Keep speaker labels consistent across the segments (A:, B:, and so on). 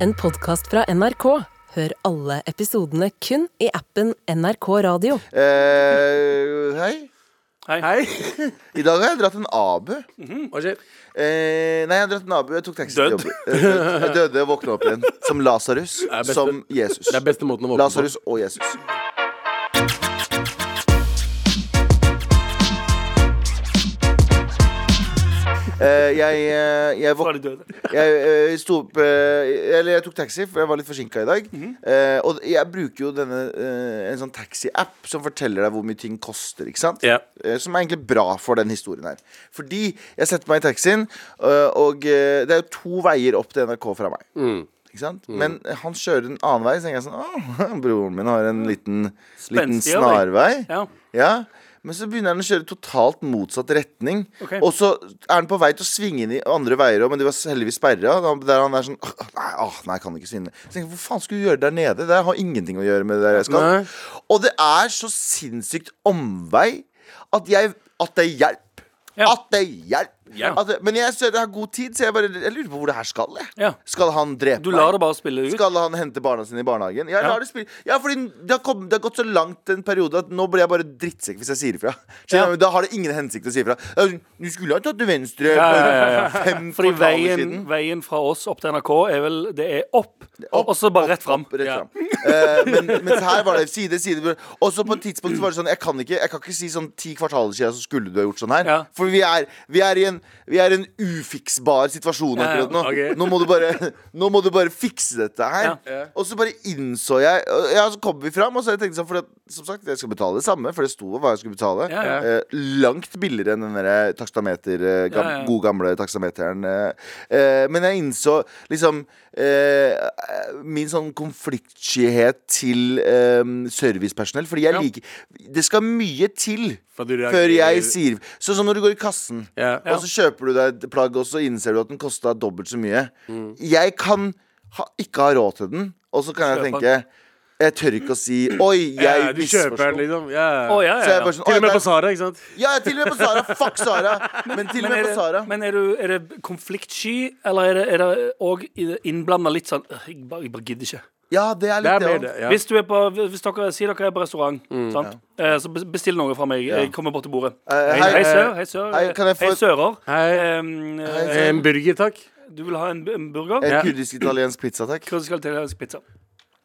A: en podkast fra NRK. Hør alle episodene kun i appen NRK Radio.
B: Eh, hei.
C: Hei.
B: I dag har jeg dratt en abu.
C: Hva skjer?
B: Eh, nei, jeg har dratt en abu. Jeg tok taxi
C: Død?
B: til jobb. Eh, død. Jeg døde og våkna opp igjen. Som Lasarus.
D: er beste-
B: Som Jesus.
D: Det er beste måten å våkne på.
B: Lasarus og Jesus. Eh, jeg eh, jeg
C: Hva
B: våk-
C: er de døde?
B: jeg, eh, sto opp eh, Eller jeg tok taxi, for jeg var litt forsinka i dag.
C: Mhm.
B: Eh, og jeg bruker jo denne eh, en sånn taxi-app som forteller deg hvor mye ting koster. Ikke sant?
C: Ja.
B: Eh, som er egentlig bra for den historien her. Fordi jeg setter meg i taxien, eh, og eh, det er jo to veier opp til NRK fra meg.
C: Mm.
B: Ikke sant? Men han kjører en annen vei, så tenker jeg sånn Å, broren min har en liten, liten
C: Spenstig, eller?
B: snarvei.
C: Ja.
B: Ja, men så begynner han å kjøre totalt motsatt retning.
C: Ok.
B: Og så er han på vei til å svinge inn i andre veier òg, men de var heldigvis sperra. Der han er sånn «Åh, Nei, åh, nei, jeg kan ikke svinge. Så tenker jeg, Hvor faen skulle du gjøre der nede? Det har ingenting å gjøre med det der jeg skal.
D: Nei.
B: Og det er så sinnssykt omvei at jeg At det hjelper.
C: Ja.
B: At det hjelper.
C: Ja.
B: At det, men jeg, ser det har god tid, så jeg bare jeg lurer på hvor det her skal. Jeg.
C: Ja.
B: Skal han drepe
C: Du lar
B: meg?
C: det bare spille ut?
B: Skal han hente barna sine i barnehagen? Jeg
C: Ja.
B: lar det spille Ja, fordi det har, kommet, det har gått så langt en periode at nå blir jeg bare drittsekk hvis jeg sier ifra.
C: Ja.
B: Skjønner du? Da har det ingen hensikt å si ifra. Det er sånn, Du skulle ha tatt til venstre
C: Ja, ja, ja, ja.
B: for fem
C: Fordi
B: kvartaler
C: veien,
B: siden.
C: veien fra oss opp til NRK er vel Det er opp, og så bare rett fram.
B: Rett
C: Ja.
B: fram. Eh, men mens her var det side, side Og så på et tidspunkt så var det sånn Jeg kan ikke, jeg kan ikke si sånn ti kvartaler siden så skulle du ha gjort sånn her.
C: Ja.
B: For vi er, vi, er i en, vi er i en ufiksbar situasjon
C: Ja, ja,
B: akkurat nå.
C: ok.
B: Nå, må du bare, nå må du bare fikse dette her.
C: Ja.
B: Og så bare innså jeg og- Ja, så kom vi fram, og så har jeg tenkt sånn For at, som sagt, jeg skal betale det samme, for det sto hva jeg skulle betale.
C: Ja, ja.
B: Eh, langt billigere enn den der takstameter, eh, gam,
C: Ja, ja.
B: gode gamle takstameteren. Eh, eh, men jeg innså liksom eh, min sånn konfliktskyhet til eh, servicepersonell. Fordi jeg
C: Ja.
B: liker Det skal mye til
D: For du reagerer-
B: før jeg sier Sånn som når du går i kassen.
D: Ja.
B: Og så kjøper du deg et plagg, og så innser du at den kosta dobbelt så mye.
D: Mm.
B: Jeg kan ha, ikke ha råd til den, og så kan jeg
C: Kjøper
B: tenke Jeg tør ikke å si Oi,
D: Ja,
B: jeg
D: du
B: misforsto.
D: kjøper den, liksom. Ja.
C: Å, ja,
B: Så jeg
C: ja, ja.
B: bare sånn,
D: Til
B: «Oi,
D: og med
B: der-
D: på Sara, ikke sant?
B: Ja, til og med på Sara. Fuck Sara. Men til og
C: Men
B: med
C: er,
B: på
C: det,
B: Sara.
C: men er, du, er det konfliktsky, eller er det- er det òg innblanda litt sånn «Øh, jeg bare, jeg bare gidder ikke.
B: Ja, det er
D: Det
B: litt
D: er
B: det
D: mer
B: òg.
D: det. Ja.
C: Hvis, du er på, hvis dere sier dere er på restaurant, sant? Eh, så bes- bestill noe fra meg. Jeg kommer bort til bordet.
B: Eh,
C: Hei,
B: hei,
C: sør. Hei, sør.
B: hei, kan jeg få-
C: hei sører.
D: Hei,
C: Em, eh,
B: Hei,
D: en burger, takk.
C: du vil ha en, bu- en burger?
B: En
D: Ja.
B: kurdisk-italiensk pizza, takk.
C: Hva skal til helst pizza?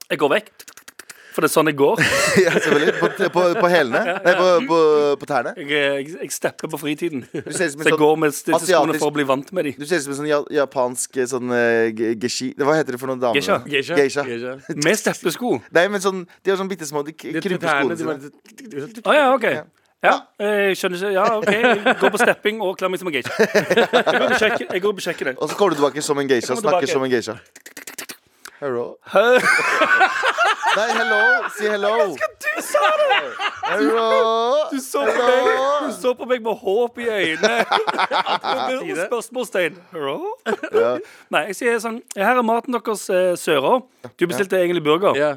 C: Jeg går vekk. For det er sånn jeg går.
B: Ja, selvfølgelig. På, på, på hælene. Nei, på, på, på tærne.
C: Jeg, jeg, jeg stepper på fritiden.
B: Du ser ut som en
C: Så jeg
B: sånn
C: går med stillesskoene
B: asiatisk-
C: for å bli vant med de.
B: du ser ut som en sånn ja- japansk eh, sånn eh, ge- geshi Hva heter det for noen damer?
C: Geisha.
B: da?
D: Geisha.
B: Geisha.
C: Med steppesko.
B: Nei, men sånn, de har sånn bitte små De k-
D: De
B: krymper
D: tærne,
B: skoene
D: de
B: sine.
D: bare-
C: Å ja, OK. Ja, jeg skjønner ikke Ja, OK. Jeg går på stepping og kler meg som en geisha. Jeg går og besjekker- Jeg går og besjekker det.
B: Og så kommer du tilbake som en geisha.
C: Jeg kommer
B: Snakker
C: tilbake.
B: som en geisha. Hello. Nei, hello. Si hello. Hello.
C: Du så på meg, du så på meg med håp i øynene. Og Spørsmålstegn. Hello?
B: Ja.
C: Nei, jeg sier sånn Her er maten deres, eh, Sører. Du bestilte egentlig burger.
D: Ja.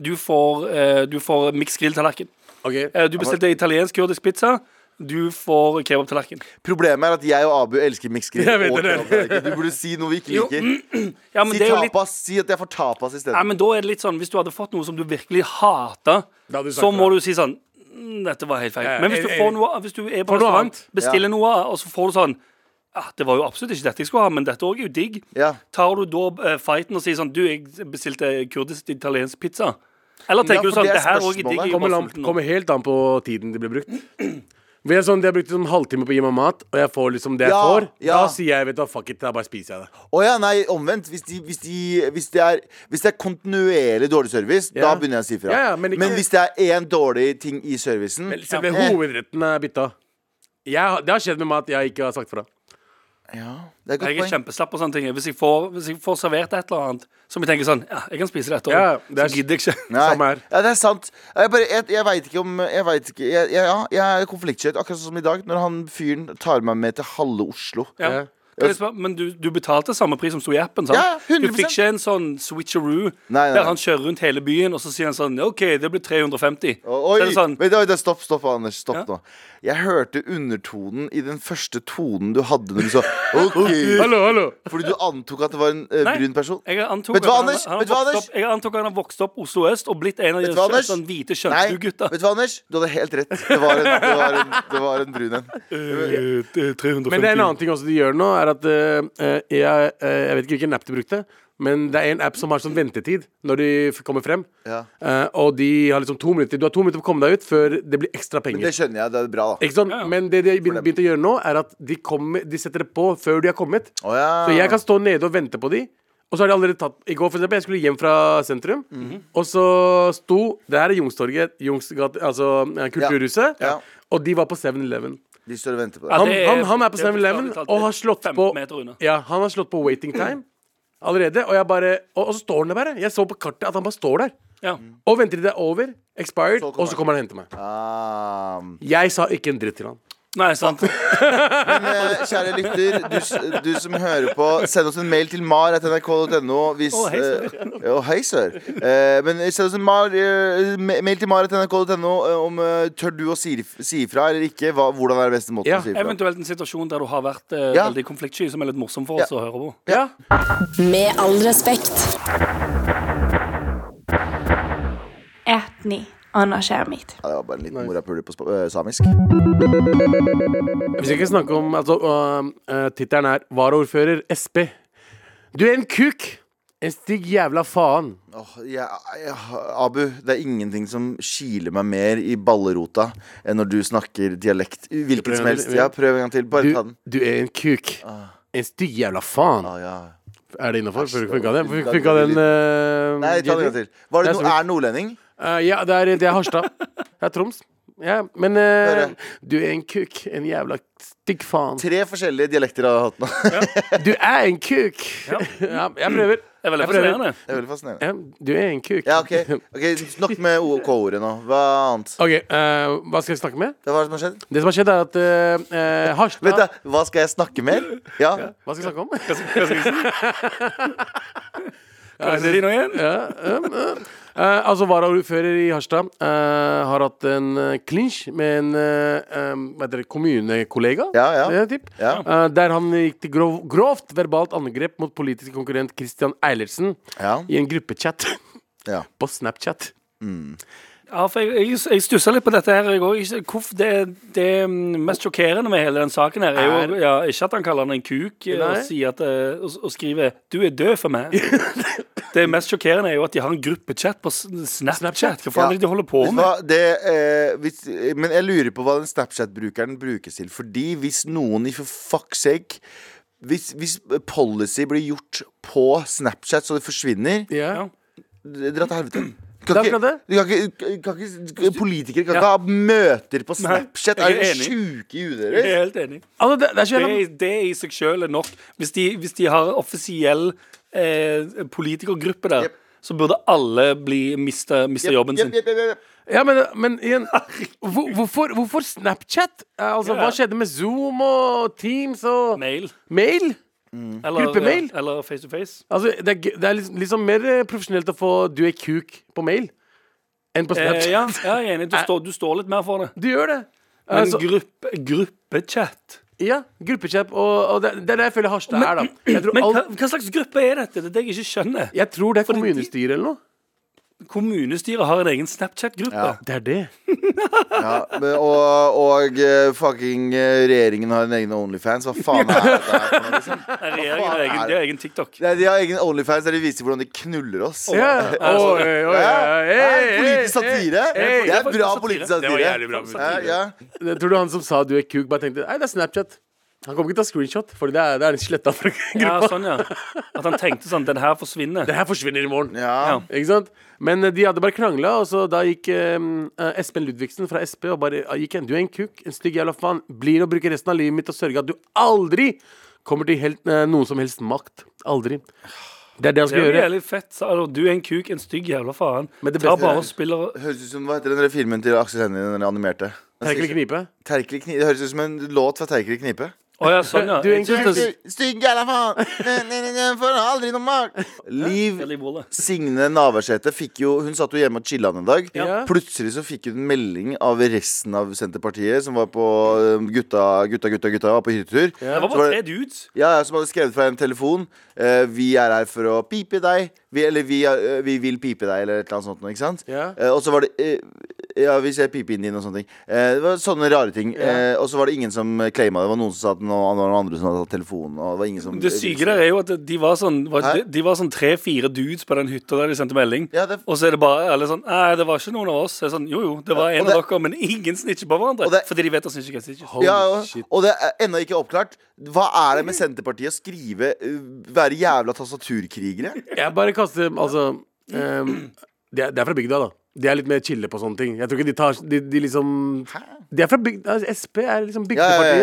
C: Du får, eh, du får miks grilltallerken.
D: Ok.
C: Eh, Du bestilte italiensk kurdisk pizza. Du får kebabtallerken.
B: Problemet er at jeg og Abu elsker mixed grill.
D: Jeg vet
B: og
D: det.
B: kebabtallerken. Du burde si noe vi ikke
C: Jo,
B: liker.
C: Ja, men
B: Si
C: det er jo litt
B: tapas. Si at jeg får tapas
C: Nei,
B: isteden.
C: men da er det litt sånn Hvis du hadde fått noe som du virkelig hata,
D: Da hadde du sagt
C: så må
D: det.
C: du si sånn «Mm, Dette var helt feil.
D: Ja,
C: Men hvis du
D: jeg-
C: får
D: jeg-
C: noe Hvis du er på
D: Får noe
C: restaurant,
D: annet.
B: Ja.
C: bestiller noe, og så får du sånn ja, Det var jo absolutt ikke dette jeg skulle ha, men dette òg er jo digg.
B: Ja.
C: Tar du da eh, fighten og sier sånn Du, jeg bestilte kurdisk-italiensk pizza. Eller
B: Ja,
C: tenker du
B: for
C: sånn
B: det er
C: Det her òg er digg. Jeg er
D: Kommer,
C: bare
D: an,
C: sulten nå».
D: kommer helt an på tiden de blir brukt. Vi er sånn, De har brukt liksom halvtime på å gi meg mat, og jeg får liksom det jeg
B: Ja,
D: får.
B: ja.
D: Da sier jeg vet du hva, fuck it, da bare spiser jeg det.
B: Å ja, nei, omvendt. Hvis, de, hvis, de, hvis, det er, hvis det er kontinuerlig dårlig service,
D: Ja.
B: da begynner jeg å si fra.
D: Ja, ja, men ikke-
B: hvis det er én dårlig ting i servicen
D: Men selve
B: eh,
D: hovedretten er bytta. Jeg, har- det har skjedd med mat jeg ikke har sagt fra.
B: ja, Det er et
C: Jeg er
B: godt poeng.
C: kjempeslapp på sånne ting. Hvis jeg får, hvis jeg får servert et eller annet som jeg tenker sånn Ja, jeg kan spise dette òg.
D: Ja, det er-
C: så gidder jeg ikke.
B: Nei.
D: Samme her.
B: Ja, det er sant. Jeg, bare- jeg, jeg veit ikke om Jeg vet ikke jeg, jeg, Ja, jeg er konfliktsky, akkurat sånn som i dag, når han fyren tar meg med til halve Oslo.
C: Ja. Kan jeg spørre, Men du, du betalte samme pris som sto i appen? sant?
B: Ja, ja,
C: du
B: 100%.
C: fikk ikke en sånn switcheroo
B: nei, nei.
C: der han kjører rundt hele byen, og så sier han sånn OK, det blir
B: Oi,
C: 350. så er det sånn,
B: vent, oi, det- stopp, stopp, Anders. Stopp
C: Ja.
B: nå. Jeg hørte undertonen i den første tonen du hadde når du sa OK.
D: Hallo, hallo!
B: Fordi du antok at det var en eh,
C: Nei.
B: brun person.
C: Jeg antok,
B: Vet du hva,
C: at han-
B: Anders?
C: han har
B: Vet du hva,
C: vokst
B: Anders?
C: opp- Jeg antok at han har vokst opp Oslo øst og blitt en av de
B: Vet du hva, Anders?
C: sånn hvite
B: Nei,
C: kjønnsdu-gutta.
B: vet du hva, Anders? Du hadde helt rett. Det var en, det var en, det var en brun en.
D: Men det er en annen ting også de gjør nå, er at eh, eh, jeg, eh, jeg vet ikke hvilken app de brukte, men det er en app som har sånn ventetid når de f- kommer frem.
B: Ja.
D: Eh, og de har liksom to minutter Du har to minutter på å komme deg ut før det blir ekstra penger.
B: Det skjønner jeg. Det er bra, da.
D: Ikke sant? Men det de har begynt, begynt å gjøre nå, er at de, kommer, de setter det på før de har kommet.
B: Å, ja.
D: Så jeg kan stå nede og vente på de. Og så har de allerede tatt I går, for eksempel, jeg skulle hjem fra sentrum. Og så sto Det her er Youngstorget, Youngsgat- altså eh, Kulturhuset.
B: Ja. Ja.
D: Og de var på 7-Eleven.
B: De står og venter på
C: Ja,
B: deg.
D: Han,
C: det er-
D: han, han er på
C: det er
D: 7-Eleven
C: bokstavelig talt
D: og har slått
C: 15
D: på
C: meter unna.
D: Ja, han har slått på waiting time allerede. Og jeg bare Og, og så står han der bare. Jeg så på kartet at han bare står der.
C: Ja.
D: Og venter til det er over, expired,
B: Så kommer
D: og så
B: han.
D: kommer han og henter meg.
B: Ah,
D: Jeg sa ikke en dritt til han.
C: Nei, sant.
B: men, eh, kjære lytter, du, s- du som hører på, send oss en mail til mar.nrk.no hvis
C: Å, hei, sør.
B: eh, å, hei, sør. Eh, men send oss en mar, eh, ma- mail til mar.nrk.no eh, om eh, tør du å si, si ifra eller ikke. Hva, hvordan er det beste måten
D: Ja,
B: å si ifra?
C: Eventuelt en situasjon der du har vært eh,
B: Ja.
C: veldig konfliktsky, som er litt morsom for oss
B: Ja.
C: å høre på.
D: Ja.
A: Med all respekt.
E: Etni anarkjemit.
B: Ja, det var bare en liten morapuler på sp- eh, samisk.
D: Vi skal ikke snakke om altså, uh, uh, Tittelen er varaordfører SP. Du er en kuk! En stygg jævla faen.
B: Åh, jeg, jeg, Abu, det er ingenting som kiler meg mer i ballerota enn når du snakker dialekt. Hvilken
D: prøve
B: som
D: en
B: helst.
D: til?
B: Ja, prøv en gang til. Bare
D: Du,
B: ta den.
D: du er en kuk. En stygg jævla faen.
B: Å, ja.
D: Er det innafor?
B: Ah. Æsj,
D: Funka den?
B: det var-
D: Funka den uh,
B: Nei, ta den en gang til. Var det
D: Det er så
B: no,
D: vidt.
B: er nordlending?
D: Eh, ja, det er, det er Harstad. Det er Troms. Ja, men eh,
B: Høre.
D: du er en kuk. En jævla stygg faen.
B: Tre forskjellige dialekter har jeg hatt nå.
D: Du er en kuk! Ja, jeg prøver.
C: Det er veldig
D: Jeg prøver.
C: fascinerende.
B: Det er veldig fascinerende.
D: Ja, du er en kuk.
B: Ja, ok, ok, Nok med O- K-ordet nå. Hva annet?
D: Ok, eh, hva skal jeg snakke med?
B: Hva er det som har skjedd?
D: Det som har skjedd, er at eh, eh, Harstad
B: Vent, da. Hva skal jeg snakke mer? Ja.
D: Hva skal jeg snakke om?
C: Hva er det de nå igjen?
D: Eh, altså Varaordfører i Harstad eh, har hatt en eh, klinsj med en eh, em, hva heter det, kommunekollega.
B: Ja, ja.
D: eh, typ.
B: Ja.
D: Eh, der han gikk til grov, grovt verbalt angrep mot politisk konkurrent Christian Eilertsen
B: Ja.
D: i en gruppechat
B: ja.
D: på Snapchat.
C: Ja, for jeg, jeg, jeg stussa litt på dette her. Jeg, også. Ikke- hvorfor- det, det mm, mest sjokkerende med hele den saken her, er jo ja, ikke at han kaller han en kuk eh, og,
D: Nei.
C: sier at, eh, og, og skriver 'du er død for meg'. Det mest sjokkerende er jo at de har en gruppechat på s- Snapchat. Hva faen er det de holder på
B: Vet du
C: med?
B: hva? Det, eh, hvis, men jeg lurer på hva den Snapchat-brukeren brukes til. Fordi hvis noen i for fuck's sake hvis, hvis policy blir gjort på Snapchat så det forsvinner,
D: Ja.
B: d- dra til helvete. Du
D: Det
B: Kan
D: er
B: ikke,
D: akkurat
B: du kan ikke, kan ikke, politikere kan ikke ha møter på Snapchat.
C: jeg
B: Er
C: er
B: dere
C: enig.
B: sjuke i huet
C: Jeg er
B: deres?
C: helt enig.
D: Altså, det, det er så
C: Det,
D: jævla
C: det i seg sjøl er nok. Hvis de, hvis de har offisiell eh, politikergruppe der,
B: Jep.
C: så burde alle bli miste, miste jobben sin.
B: Jep, jep, jep, jep.
D: Ja, men, men igjen hvor, hvorfor, hvorfor Snapchat? Eh, Altså,
C: Ja.
D: Hva skjedde med Zoom og Teams og
C: Mail.
D: mail?
C: Eller, eh,
D: Gruppemail?
C: Eller face to face.
D: Altså, det er, g- det er liksom, liksom mer eh, profesjonelt å få 'du er kuk' på mail enn på Snapchat.
C: Eh, ja, ja, jeg er enig. Du står, du står litt mer for det.
D: Du gjør det.
C: Men
D: Altså,
C: gruppe, gruppechat
D: ja, gruppechat. Og, og det, det er det jeg føler Harstad er, da. Jeg tror,
C: Men hva,
D: alt,
C: hva slags gruppe er dette? Det er det jeg ikke skjønner.
D: jeg tror det er
C: Fordi de-
D: kommunestyret eller noe.
C: Kommunestyret har en egen Snapchat-gruppe.
D: Det er det.
B: Ja, men- og, og eh, fucking eh, regjeringen har en egen Onlyfans. Hva faen er det her? for noe, liksom?
C: Nei,
B: Hva
C: Regjeringen har
B: faen
C: egen,
B: er
C: de har egen TikTok.
B: Nei, De har egen Onlyfans der de viser hvordan de knuller oss.
D: Ja.
B: Altså,
D: Oi, oi, oi,
B: Ja,
D: oi,
B: ja,
D: oi,
B: Politisk
D: oi,
B: satire.
D: oi, oi.
B: Det er
C: politisk
B: bra
C: satire.
B: politisk
C: Det var
B: satire.
D: jævlig bra politisk
B: Ja, ja.
D: Jeg Tror du han som sa 'du er kuk', bare tenkte 'nei, det er Snapchat'? Han kommer ikke til å ta screenshot, Fordi det er, det er en sletta fra
C: Ja,
D: gruppa.
C: sånn, ja. At han tenkte sånn Den her forsvinner.
D: Det her forsvinner i morgen.
B: Ja.
C: Ja.
D: Ikke sant? Men eh, de hadde bare krangla, og så da gikk ehm, eh, Espen Ludvigsen fra Sp og bare eh, gikk igjen. Du er en kuk, en stygg jævla faen. Blir å bruke resten av livet mitt og sørge at du aldri kommer til helt, eh, noen som helst makt. Aldri. Det er
C: Det
D: det han skal
C: er jo
D: gjøre.
C: jævlig fett. sa- altså, Du er en kuk, en stygg jævla faen.
D: Men det
C: Ta
D: beste-
C: bare og spiller
B: Høres ut som hva heter den der filmen til Aksel Hennie, den der animerte? Den
D: Terkel i knipe.
B: Terkel i kni- Det høres ut som en låt fra Terkel i knipe.
C: Å ja, sånn, ja.
D: Du er en
C: Jeg synes det-
B: Stygg jævla faen! Ne, ne, ne, ne, Får aldri noe mak! Liv
C: Veldig bra, det.
B: Signe Navarsete fikk jo Hun satt jo hjemme og chilla en dag.
D: Ja.
B: Plutselig så fikk hun melding av resten av Senterpartiet, som var på eh, gutta, gutta, gutta, gutta var på hyttetur.
C: Det var
B: Så var
C: bare tre dudes.
B: ja, ja, som hadde skrevet fra en telefon. eh, vi er her for å pipe deg. Vi, eller vi, eh, vi vil pipe deg, eller et eller annet sånt. noe, Ikke sant?
D: Ja.
B: Eh, og så var det eh, Ja, vi ser pipen din og sånne ting. Eh, det var sånne rare ting. Eh, og så var det ingen som claima det. Det var noen som sa at nå, det var noen andre som hadde tatt telefonen. Og det var ingen som
C: Det syke der er jo at de var sånn var,
B: Hæ?
C: de, de var sånn tre-fire dudes på den hytta der de sendte melding.
B: Ja, det-
C: Og så er det bare alle sånn Nei, det var ikke noen av oss. Det er sånn, jo, jo, det var
B: Ja, og
C: en av
B: det-
C: dere, men ingen snitcher på hverandre.
B: Og det-
C: fordi de vet at snitcher kan snitche.
B: ja,
D: Holy
B: og,
D: shit.
B: og det er ennå ikke oppklart. Hva er det med Senterpartiet å skrive eh, Være jævla tastaturkrigere?
D: Jeg bare kaster Altså ehm, det, er, det er fra bygda, da. De er litt mer chille på sånne ting. Jeg tror ikke de tar De, de liksom De er fra bygda. Altså, SP er liksom bygdepartiet.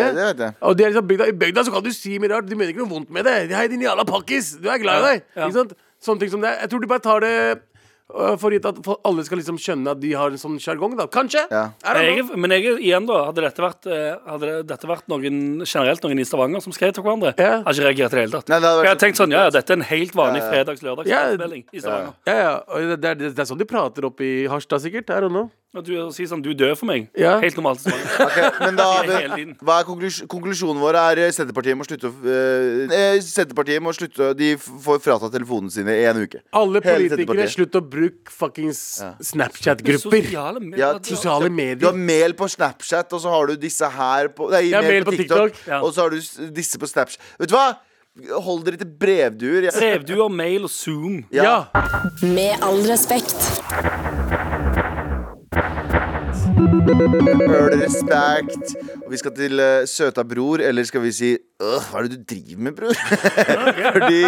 B: Ja, ja, ja, det vet jeg.
D: Og de er liksom bygda, I bygda så kan du si mye rart. De mener ikke noe vondt med det. Hei, din jævla pakkis! Du er glad i deg!
C: Ja, ja.
D: Ikke sant? Sånne ting som det. Jeg tror de bare tar det øh, for gitt at for alle skal liksom skjønne at de har en sånn sjargong, da. Kanskje?
B: Ja.
D: I don't
C: Jeg,
D: know.
C: men jeg, er- igjen, da, hadde dette vært, eh, hadde det- dette vært noen, generelt noen i Stavanger som skrev til hverandre,
D: Ja.
C: hadde ikke reagert i det hele tatt.
B: Nei, det hadde vært-
C: jeg hadde tenkt sånn, ja, ja, dette er en helt vanlig
B: Ja, ja.
D: Ja,
C: fredags-lørdagsmelding i Stavanger.
D: Ja, ja. og Det, det, er- det er sånn de prater oppe i Harstad, sikkert. I don't know.
C: Og du sier sånn, du dør for meg.
D: Ja.
C: Helt normalt. i Stavanger.
B: Ok, men da har
C: Hele
B: vi,
C: tiden.
B: Hva er konklus konklusjonen vår? Er eh, Senterpartiet må slutte å eh, eh, Senterpartiet må slutte å- De f- får fratatt telefonene sine i en uke.
D: Alle
B: Hele
D: politikere,
B: Senterpartiet.
D: slutt å bruke fuckings Snapchat-grupper.
C: Sosiale medier.
B: Ja,
D: Sosiale
B: Du har
D: medier.
B: mail på Snapchat, og så har du disse her på Nei,
D: Ja, mail på TikTok,
C: ja.
B: Og så har du s- disse på Snapchat. Vet du hva? Hold dere til brevduer. Jeg-
C: Skrev du om mail og Zoom?
D: Ja.
A: Med all respekt.
B: Earl respect. Og vi skal til eh, søta bror, eller skal vi si «Åh, Hva er det du driver med, bror? fordi,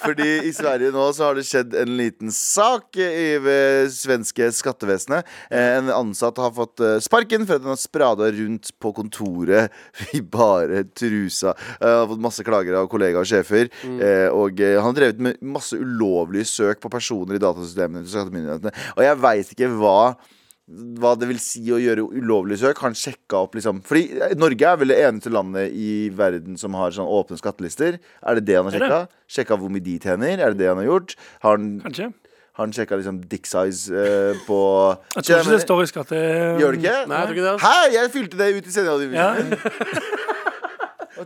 B: fordi i Sverige nå så har det skjedd en liten sak i ved svenske skattevesenet. Eh, En ansatt har fått eh, sparken for at den har sprada rundt på kontoret i bare trusa. Eh, Har fått masse klager av kollegaer og sjefer. eh, Og eh, han har drevet med masse ulovlige søk på personer i datasystemene til skattemyndighetene. Og jeg veit ikke hva hva det vil si å gjøre ulovlig søk. Han sjekka opp liksom Fordi eh, Norge er vel det eneste landet i verden som har sånn åpne skattelister. Er det det han har
C: Er det?
B: sjekka? Sjekka hvor mye de tjener? Er det det han har gjort? Har han,
C: Kanskje.
B: har han sjekka liksom dick size eh, på
C: Jeg tror ikke det står i skatte...
B: Gjør det ikke?
D: Nei, jeg tror ikke det. altså. ass.
B: Hæ? Jeg fylte det ut i
C: Ja.
B: sendeavgivningen.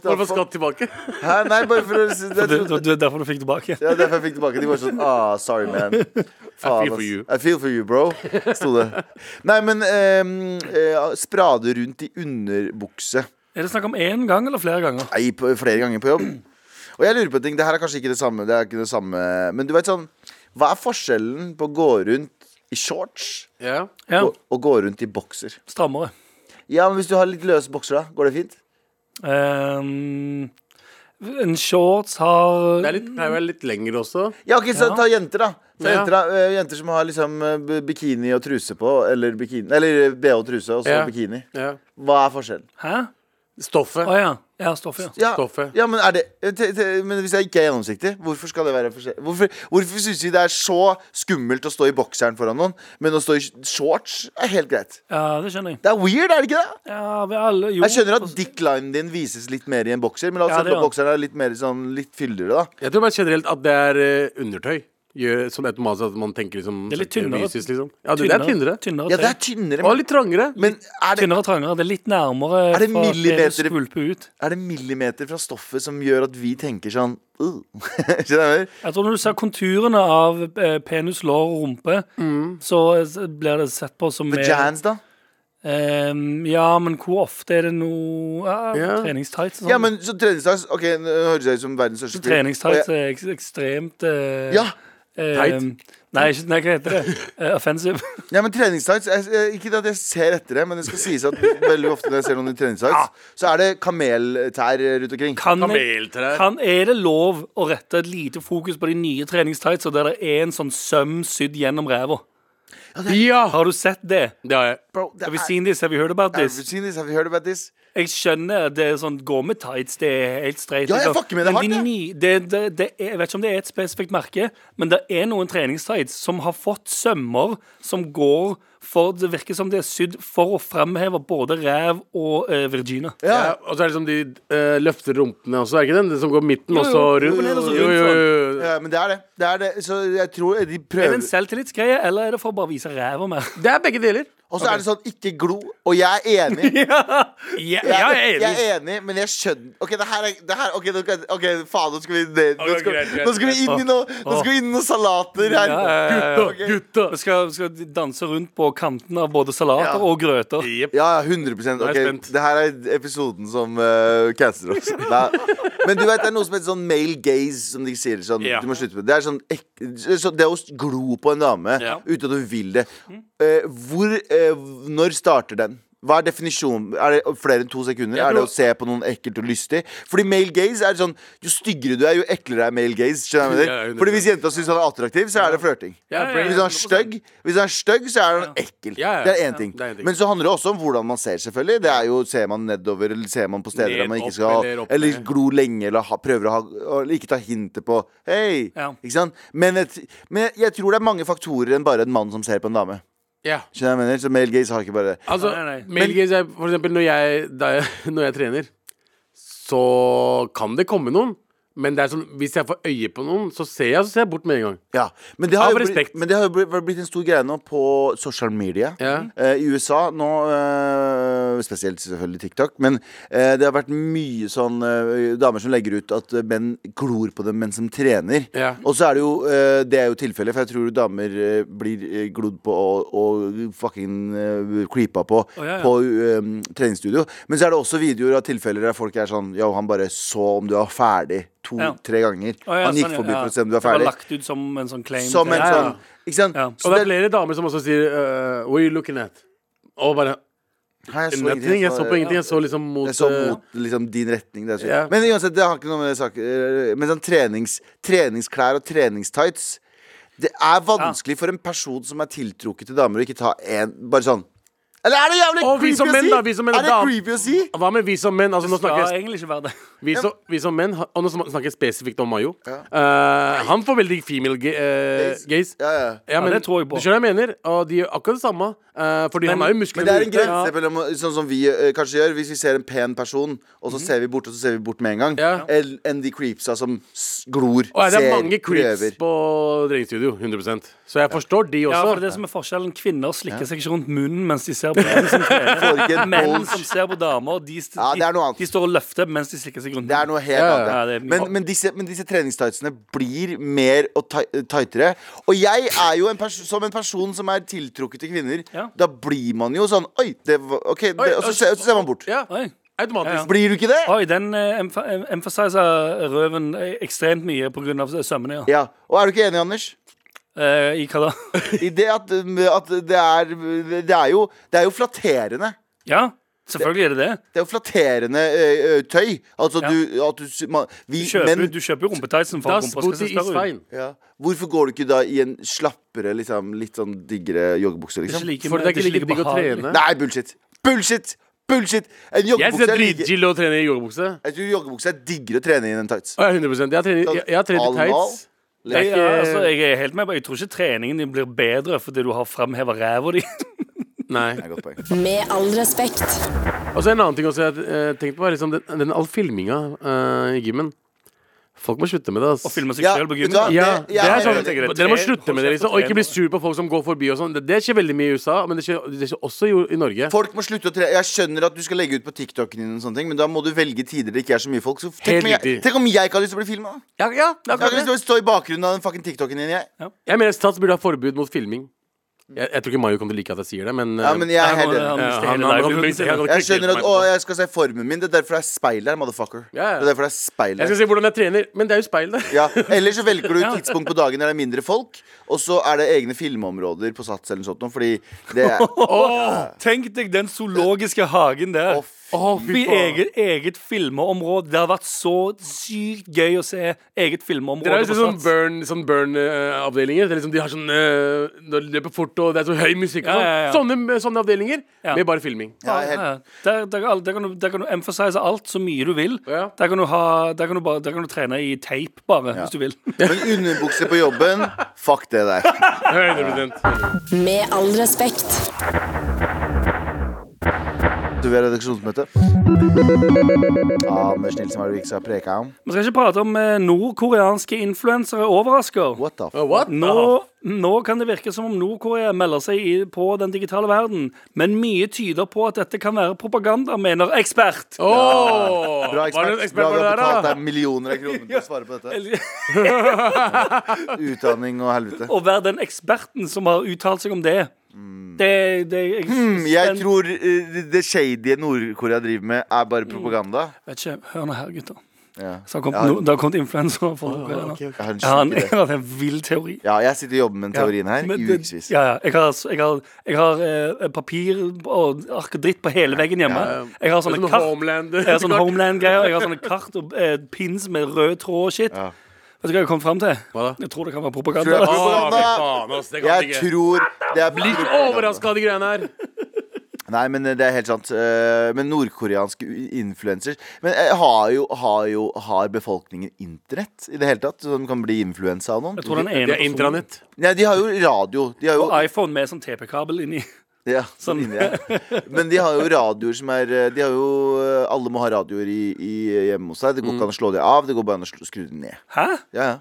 D: Bare få skatt tilbake.
B: Hæ? Nei, bare for å
C: Det
B: jeg trodde-
C: er sånn- derfor du fikk tilbake.
B: ja, derfor jeg fikk tilbake. De var sånn ah, Sorry, man. Faen,
D: for
B: ass.
D: you.
B: I feel for you, bro. Sto det. Nei, men um, sprade rundt i underbukse.
C: Er det snakk om én gang eller flere ganger?
B: Nei, på, flere ganger på jobb. Og jeg lurer på en ting. Det her er kanskje ikke det samme. Det er ikke det samme Men du vet sånn Hva er forskjellen på å gå rundt i shorts
D: Ja.
C: Ja,
B: og, og gå rundt i bokser?
C: Strammere.
B: Ja, men Hvis du har litt løse bokser, da? Går det fint?
C: Ehm, en shorts har
D: Det er litt, pleier å være litt lengre også.
B: Ja, ok, så
C: Ja.
B: ta jenter, da. Ta
C: Ja.
B: jenter, da. Eh, jenter som har liksom eh, b- bikini og truse på. Eller, bikini, eller BH og truse, og så
D: Ja.
B: bikini.
D: Ja.
B: Hva er forskjellen?
C: Hæ?
D: Stoffet.
C: Å ja. Ja, stoff, ja.
B: Ja,
D: Stoffet.
B: ja men, er det, eh, te, te, men hvis jeg ikke er gjennomsiktig, hvorfor skal det være forskjell? Hvorfor, hvorfor syns vi det er så skummelt å stå i bokseren foran noen, men å stå i shorts er helt greit?
C: ja. Det skjønner jeg.
B: Det er weird, er det ikke det?
C: Ja, vi alle Jo.
B: Jeg skjønner at dicklinen din vises litt mer i en bokser, men la oss
C: Ja,
B: si
C: det
B: at
C: gjør
B: bokseren er litt mer sånn litt fyldigere, da.
D: Jeg tror bare generelt at det er eh, undertøy. Gjør sånn automatisk at man tenker liksom
C: Det er litt tynnere.
D: Fysisk, liksom. Ja, det, det er tynnere.
C: Tynnere,
B: Ja, det er
C: tøy.
B: tynnere,
D: Og
B: men,
D: litt trangere.
B: men er, det,
C: tynnere og trangere. Det er litt nærmere.
B: Er det
C: fra at
B: millimeter-
C: skvulper ut.
B: er det millimeter fra stoffet som gjør at vi tenker sånn uh. Skjønner du hva jeg mener?
C: Jeg tror når du ser konturene av eh, penis, lår og rumpe,
B: Mm.
C: så eh, blir det sett på som mer-
B: Vajans, da?
C: Ehm, ja, men hvor ofte er det noe ja,
D: Ja.
C: Treningstights og sånn.
B: Ja, men så treningstights Ok, nå høres jeg ut som verdens største fyr.
C: Treningstights
B: Og jeg-
C: er ek ekstremt eh,
B: Ja,
C: eh,
D: Tight?
C: Nei, ikke, nei, hva heter det? Eh, offensive.
B: Ja, men treningstights jeg- jeg- Ikke at jeg ser etter det, men det skal sies at veldig ofte når jeg ser noen i treningstights, så er det kameltær rundt omkring.
C: Kan,
D: Kameltrær.
C: kan, er det lov å rette et lite fokus på de nye treningstightsa der det er en sånn søm sydd gjennom ræva?
D: Ja!
C: Har du sett det?
D: Det har jeg.
B: Bro, det
C: Have you
B: er-
C: seen this? Have you heard about
B: Have you
C: this?
B: seen this? Have you heard about this?
C: Jeg skjønner at det er sånn gå med tights, det er helt streit.
B: Ja, jeg
C: liksom.
B: fucker med det
C: Men
B: hardt,
C: de
B: jeg.
C: ny- det, det, det er, jeg vet ikke om det er et spesifikt merke, men det er noen treningstights som har fått sømmer som går for Det virker som det er sydd for å framheve både ræv og eh, Virginia.
D: Ja. og så er det som de eh, løfter rumpene også, er det ikke den? Den som går midten og
C: jo,
D: så
C: rumpen er
D: rundt.
C: også rundt sånn.
D: jo.
B: Ja, men det er det. det er det. Så jeg tror de
C: Er det en
B: prøver
C: selvtillitsgreie, eller er det for å bare vise ræva mer?
D: Det er begge deler.
B: Og så er det sånn ikke glo. Og jeg er enig.
C: Ja,
B: Jeg,
C: jeg er
B: jeg
C: enig.
B: er enig, men jeg skjønner OK, det her er det her, Ok, nå kan- ok, faen, nå skal vi ned. Nå
C: Ok,
B: skal,
C: greit, greit,
B: nå skal vi inn i noe Nå skal vi inn i noen salater her.
C: Ja, ja, ja, ja.
B: Ok.
D: Gutta!
C: Vi skal, vi skal danse rundt på kanten av både salater og grøter.
B: Ja, ja, 100
D: er jeg
B: Ok,
D: spent.
B: Det her er episoden som uh, canceler oss. Nei. Men du vet, det er noe som heter sånn male gaze, som de sier. Sånn,
D: Ja.
B: Du må slutte med det. Det er sånn ek- så Det å glo på en dame
D: Ja. Mm.
B: uten at du vil det. Eh, hvor eh, Når starter den? Hva er definisjonen? Er det flere enn to sekunder?
D: Jeg
B: Er det
D: tror-
B: å se på noen ekkelt og lystig? Fordi male gaze er sånn Jo styggere du er, jo eklere er male gaze. Skjønner du hva jeg
D: Ja,
B: mener?
D: 100%.
B: Fordi hvis jenta syns han er attraktiv, så er det flørting.
D: Ja,
C: ja,
D: brain-
B: Hvis han er stygg, hvis han er stygg, så er han ekkel.
D: Ja, ja,
B: Det er
D: ja.
B: én ting.
D: Det er en ting.
B: Men så handler det også om hvordan man ser, selvfølgelig. Det er jo, Ser man nedover, eller ser man på steder
D: Ned,
B: der man ikke
D: opp,
B: skal
D: eller opp,
B: Eller
D: ned.
B: glo lenge, eller ha, prøver å ha Eller ikke ta hintet på Hei!
C: Ja.
B: Ikke sant? Men, et, men jeg tror det er mange faktorer enn bare en mann som ser på en dame.
D: Ja.
B: Skjønner du hva jeg mener? Så male gaze har ikke bare det.
D: Altså,
C: Nei, nei, nei.
D: male gaze er for eksempel når jeg, da jeg, når jeg trener, så kan det komme noen. Men det er sånn, hvis jeg får øye på noen, så ser jeg, så ser jeg bort med en gang.
B: Ja, men det har,
D: Av
B: jo blitt,
D: respekt.
B: men det har jo blitt, blitt en stor greie nå på social media.
D: Ja.
B: Eh, I USA nå, eh, spesielt selvfølgelig TikTok, men eh, det har vært mye sånn eh, damer som legger ut at eh, menn glor på dem mens de trener.
D: Ja.
B: Og så er det jo eh, Det er jo tilfellet, for jeg tror damer eh, blir eh, glodd på og, og fucking eh, creepa på
C: ja, ja.
B: på eh, treningsstudio. Men så er det også videoer av tilfeller der folk er sånn Yo, han bare så om du var ferdig
C: Ja.
B: to-tre ganger.
C: Å, ja,
B: han gikk
C: sånn, ja,
B: forbi
C: ja.
B: for å se om du var
C: Det var
B: ferdig.
C: lagt ut som en sånn claim.
B: Som en
C: til- Ja, ja.
B: sånn Ikke sant?
C: Ja.
D: Og
B: Så
D: det
B: det
D: er flere damer som også sier eh, What are you looking at? Og bare
B: Nei, jeg så
D: Ingenting. Jeg så på
B: ingenting.
D: ingenting. Jeg så liksom mot,
B: Jeg så
D: eh,
B: mot liksom, din retning. Det er så-
D: Ja.
B: Men uansett, det har ikke noe med det saken Men sånn trenings, treningsklær og treningstights Det er vanskelig for en person som er tiltrukket til damer, å ikke ta en Bare sånn Eller er det jævlig
D: Og vi
B: creepy
D: som
B: å
D: menn,
B: si?
D: da, vi som menn,
B: er det
D: da.
B: creepy å si?
D: Hva med vi som menn? Altså, nå
C: Det
D: snakker
C: skal
D: jeg
C: egentlig ikke være det.
D: vi som, vi som menn, har- og nå sma- snakker jeg spesifikt om Mayo.
B: Ja.
D: Eh, han får veldig female ga eh,
B: Gaze.
D: gaze.
B: Ja, ja.
D: Ja, men,
C: det tror jeg på.
D: Du skjønner hva jeg mener? Og de gjør akkurat det samme. eh, fordi han har jo
B: Men
D: muskler
B: det er en
D: ute.
B: grense mellom sånn som vi eh, kanskje gjør. Hvis vi ser en pen person, og så ser vi bort, og så ser vi bort med en gang.
D: Mhm. Ja.
B: Enn enn de creepsa som s- glor,
D: Og ja, det er
B: ser,
D: mange creeps
B: prøver.
D: på treningsstudio. 100 Så jeg forstår de
C: Ja, for det er
D: også.
C: det som er forskjellen. Kvinner slikker seg ikke rundt munnen mens de ser på menn som trener.
B: Får ikke en
C: Menn
B: bulge.
C: som ser på damer, de, st-
B: Ja, det er noe annet.
C: de står og løfter mens de slikker seg rundt.
B: Det er noe helt
D: Ja, ja,
B: annet.
C: ja, det er mye
B: men, men, disse, men disse treningstightsene blir mer og ti- tightere. Og jeg er jo en perso som en person som er tiltrukket til kvinner.
C: Ja.
B: Da blir man jo sånn Oi, det var OK. Det,
D: Oi,
B: og så ser, så ser man bort.
D: Ja,
C: Oi.
D: automatisk.
B: Blir du ikke det?
C: Oi, den eh, emph em- emphasiser røven eh, ekstremt mye pga. eh, sømmene, ja.
B: Ja. Og er du ikke enig, Anders?
C: Eh, I hva da?
B: I det at, at det, er, det er jo Det er jo flatterende.
C: Ja, selvfølgelig er det det.
B: Det er jo flatterende ø, ø, tøy. Altså
C: Ja.
B: du at du s- man, vi,
C: Du kjøper,
B: menn-
C: du kjøper jo rumpetightsen for at
D: Das
C: rumpa skal se
D: Booty is
C: større ut.
D: fine.
B: ja. Hvorfor går du ikke da i en slappere, liksom, litt sånn diggere joggebukse?
C: Det er ikke
B: Liksom?
C: like-
D: For det er ikke like digg å
C: behagelig.
D: trene.
B: Nei, bullshit. Bullshit! Bullshit! En
D: Jeg
B: joggebukse
D: syns det
B: er
D: er
B: like-
D: dritchill å trene i joggebukse.
B: Jeg tror joggebukse er diggere å trene i enn tights.
D: Å, ja, 100 Jeg har trent, jeg, jeg har trent i
B: All in all,
D: tights. Det er
C: Jeg,
D: ikke-
C: altså, jeg er helt med på Jeg tror ikke treningen din blir bedre fordi du har framheva ræva di.
D: Nei.
B: Det er et godt poeng.
A: Med all respekt.
D: Og så en annen ting også jeg eh, tenkte på, er liksom den, den all filminga eh, i gymmen. Folk må slutte med det. ass.
C: Og filmer seg
B: Ja,
C: selv på
B: vet du
C: gymmen.
B: hva?
C: da.
D: Ja,
B: Det-
D: det
B: ja,
D: er
B: jeg
D: sånn,
B: vet
C: det.
D: Dere må slutte med det, liksom. Og ikke bli
C: Hold kjeft og
D: sur på folk som går forbi og sånn. Det- Det skjer veldig mye i USA, men det skjer, det skjer også i, i Norge.
B: Folk må slutte å trene Jeg skjønner at du skal legge ut på TikTok-en din, og sånne ting men da må du velge tider det ikke er så mye folk. Så tenk,
D: Helt
B: om jeg,
D: riktig.
B: tenk om jeg ikke har lyst til å bli filma!
D: Ja, ja, det er
B: Jeg har ikke
D: akkurat
B: lyst
D: det.
B: til å stå i bakgrunnen av den fucking TikTok-en din, jeg.
D: Jeg mener stats burde ha forbud mot filming. Jeg, jeg tror ikke Mayo kommer til å like at jeg sier det, men,
B: Ja,
D: eh,
B: men jeg
C: Nei,
B: er helt
C: han-
B: enig.
C: han mister
D: Ja, han-
C: hele
D: han-
C: livelihooden sin.
D: han- han-
B: Jeg skjønner at
D: meg.
B: å, jeg skal se formen min. Det er derfor det er speil her, motherfucker. Det
D: Ja, ja.
B: er derfor det er speil
D: Jeg skal
B: her.
D: si hvordan jeg trener, men det er jo speil der.
B: Ja, Eller så velger du et tidspunkt på dagen der det er mindre folk, og så er det egne filmområder på Sats eller noe sånt, fordi det er
C: Tenk deg den zoologiske hagen der.
B: Å,
D: fy
C: I
D: faen.
C: eget, eget filmeområde. Det har vært så sykt gøy å se eget filmeområde.
D: Dere har jo sett
C: på
D: sånn
C: Sats.
D: burn, sånn burn eh, avdelinger Det er liksom, de har sånn eh, De løper fort, og det er så høy musikk. og
C: Ja, ja, ja.
D: sånn. Sånne, sånne avdelinger
C: Ja.
D: med bare filming.
B: Ja, jeg er
C: Ja,
B: helt,
C: ja. Der, der, kan- der, kan du, der kan du emphasize alt så mye du vil.
D: Ja.
C: Der, kan du ha, der, kan du bare, der kan du trene i tape, bare, hvis du vil.
B: men underbukse på jobben, fuck det der.
D: 100%
A: Med all respekt.
B: Du vil ha redaksjonsmøte? Anders Nilsen, hva er det vi ikke skal preke om?
C: Vi skal ikke prate om eh, nordkoreanske influensere overrasker.
B: What the f...
D: Oh, what?
C: Nå, nå kan det virke som om Nord-Korea melder seg i, på den digitale verden, men mye tyder på at dette kan være propaganda, mener ekspert.
D: Åh!
B: Bra
D: Var det en
B: ekspert.
D: ekspert
B: Bra
D: på
B: vi
D: det
B: har
D: der,
B: betalt
D: da?
B: deg millioner av kroner til å svare på dette. Utdanning og helvete.
C: Å være den eksperten som har uttalt seg om det. Det, det jeg,
B: Mm, Jeg tror eh, det- det shadye Nord-Korea driver med, er bare propaganda.
C: Vet ikke, Hør nå her, gutter.
B: Ja.
C: Så har kommet,
B: Ja.
C: no, det har kommet influensere fra Nord-Korea nå.
B: Jeg har en
C: Jeg har en,
B: sjuk
C: jeg
B: idé.
C: har en vill teori.
B: Ja, jeg sitter og jobber med den teorien her
C: Men
B: i
C: det-
B: ukevis.
C: Ja, ja. Jeg har, jeg har, jeg har eh, papir og ark og dritt på hele veggen hjemme. Jeg har sånne
D: Sånn
C: kart.
D: homeland.
C: Jeg har sånne homeland-greier. Jeg har sånne kart og eh, pins med rød tråd og shit.
B: Ja.
C: Vet du hva jeg kom fram til?
D: Hva da?
C: Jeg tror det kan være
B: Tror
C: propaganda.
B: jeg-
D: Åh,
B: Propaganda.
D: fy faen, ass. Det kan
B: Jeg
D: ikke.
B: tror det er
D: Blir ikke overraska av de greiene her.
B: Nei, men det er helt sant. Eh, Men nordkoreanske influencers Men eh, har jo, har jo Har befolkningen internett i det hele tatt? Så de kan bli influensa av noen?
C: Jeg tror den ene
D: Det er
C: personen-
D: intranett.
B: Nei, de har jo radio. De har jo,
C: Og iPhone med sånn TP-kabel inni.
B: ja, sånn inni her. Men de har jo radioer som er eh, De har jo eh, Alle må ha radioer i, i eh, hjemme hos seg.
C: Mm.
B: Det går ikke an å slå det av, det går bare an å sl- skru det ned.
C: Hæ?
B: Ja, ja.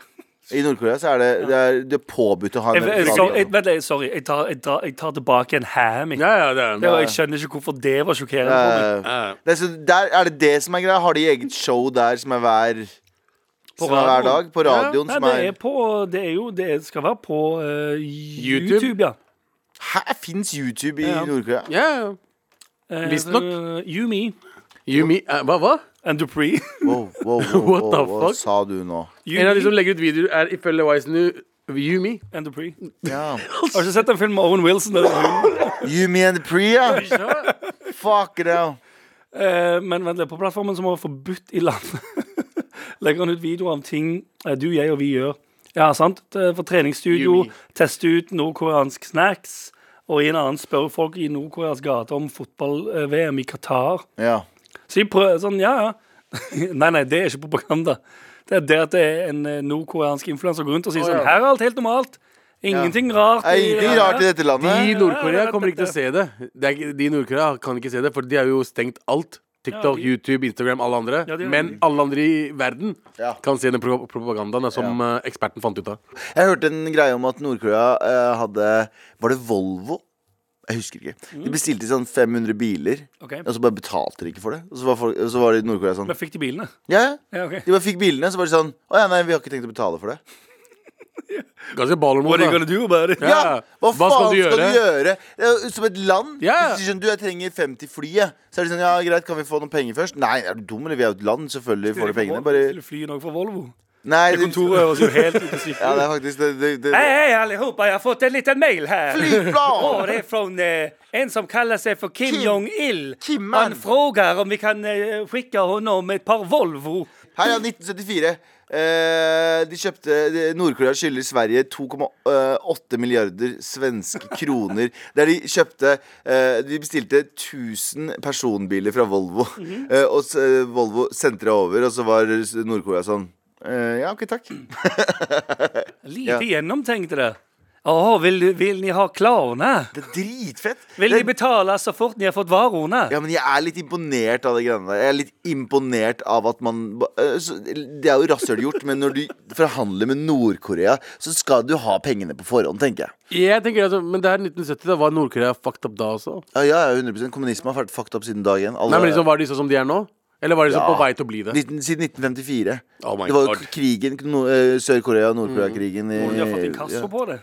B: I Nord-Korea så er det Det er, det er påbudt å ha
C: Jeg,
B: en
C: jeg,
B: radio.
C: sorry, jeg, vent, jeg, sorry. Jeg tar, jeg tar, jeg tar tilbake en ham. Jeg.
D: Ja, ja, det er
C: Det var- jeg skjønner ikke hvorfor det var sjokkerende. for meg.
B: Eh, det er, så der er det det som er greia. Har de eget show der som er hver
C: På
D: sånn
B: som er hver
C: radioen.
B: dag? På radioen
C: Nei,
B: som
C: det
B: er,
C: er på Det er jo Det skal være på eh, YouTube.
D: YouTube?
C: ja.
B: Hæ? Fins YouTube i
C: Ja.
B: Nord-Korea?
D: Ja, ja.
C: Eh,
D: Visstnok.
C: eh, Yumi
D: You me, eh, hva, hva?
C: and Dupree.
B: Wow, wow, wow,
D: What
B: wow,
D: the
B: hva
D: fuck?
B: sa du nå?
D: En av de som
C: Yumi
D: legger ut videoer, er ifølge Wise New You Me.
C: and Dupree.
B: Ja.
C: Har ikke sett en film med Owen Wilson. der hun-
B: Yumi and Priya? Fuck it out.
C: Eh, men vent litt, på plattformen som var forbudt i landet, legger han ut videoer av ting eh, du, jeg og vi gjør. Ja, sant? Eh, For treningsstudio,
D: Yumi.
C: teste ut nordkoreansk snacks. Og i en annen spør folk i nordkoreansk gate om fotball-VM i Qatar.
B: Ja.
C: Så de prøver sånn, ja ja. Nei, nei, det er ikke propaganda. Det er det at det er en eh, nordkoreansk influenser går rundt og sier sånn Her er alt helt normalt. Ingenting rart.
B: Er ingenting rart i dette
D: De i
B: landet.
D: Nord-Korea kommer ikke til å se det. det er, ikke- de i Nord-Korea kan ikke se det, for de har jo stengt alt. TikTok,
C: Ja, de-
D: YouTube, Instagram, alle andre.
C: Ja, de har-
D: Men alle andre i verden
B: Ja.
D: kan se den pro propagandaen da, som eh, eksperten fant ut av.
B: Jeg hørte en greie om at Nord-Korea eh, hadde Var det Volvo? Jeg husker ikke.
C: Mm.
B: De bestilte sånn 500 biler,
C: Ok.
B: og så bare betalte de ikke for det. Og så var, folk, så var det i Nord-Korea sånn
C: Men fikk de bilene?
B: Ja, ja.
C: Ja, ok.
B: De bare fikk bilene, så var de sånn Å ja, nei, vi har ikke tenkt å betale for det.
D: Ganske baller mot
C: What are you
D: da.
C: gonna do about it?
D: Ja,
B: Ja, Hva faen skal du gjøre? Det er jo Som et land.
D: Ja, ja.
B: Hvis du sier sånn, du, jeg trenger 50 fly, jeg. så er det sånn Ja, greit, kan vi få noen penger først? Nei, er du dum, eller? Vi er jo et land, selvfølgelig får du pengene. Bare
C: Skulle fly noe fra Volvo.
B: Nei,
C: Det kontoret var jo helt ute å
B: Ja, det
C: sykle.
B: er faktisk det, det, det.
C: Hei, hei, alle sammen. Jeg har fått en liten mail her. Og
B: Flyplan!
C: det er fra eh, en som kaller seg for Kim,
B: Kim.
C: Jong-il.
B: Kimmen.
C: Han spør om vi kan eh, skikke honom et par Volvo.
B: Her er 1974. Eh, de kjøpte de- Nord-Korea skylder Sverige 2,8 milliarder svenske kroner. Der de kjøpte eh, De bestilte 1000 personbiler fra Volvo. eh, og s- eh, Volvo sendte det over, og så var s- Nord-Korea sånn eh, Ja, OK, takk.
C: Lite
B: Ja.
C: gjennomtenkt det. Åh, vil, du- vil ni ha klovner?
B: Det er dritfett.
C: Vil
B: Det
C: de
B: er-
C: betale så fort ni har fått varene?
B: ja, men jeg er litt imponert av det greiene der. Jeg er litt imponert av at man ba- eh, så- Det er jo rasshøl gjort, men når du forhandler med Nord-Korea, så skal du ha pengene på forhånd, tenker jeg.
D: Jeg tenker altså, Men det er 1970, da var Nord-Korea fucked up da også.
B: Ja, ja, ja, 100 Kommunisme har vært fucked up siden dag én. Alle-
D: Nei, men liksom, Var de sånn som de er nå? Eller var de sånn
B: Ja.
D: på vei til å bli det?
B: 19, siden 1954.
D: Oh my
B: det var jo
D: God.
B: krigen no, eh, Sør-Korea og Nord-Korea-krigen. i-
C: Tror du Mm. de har fått inkasso
B: ja. Mm.
C: på det?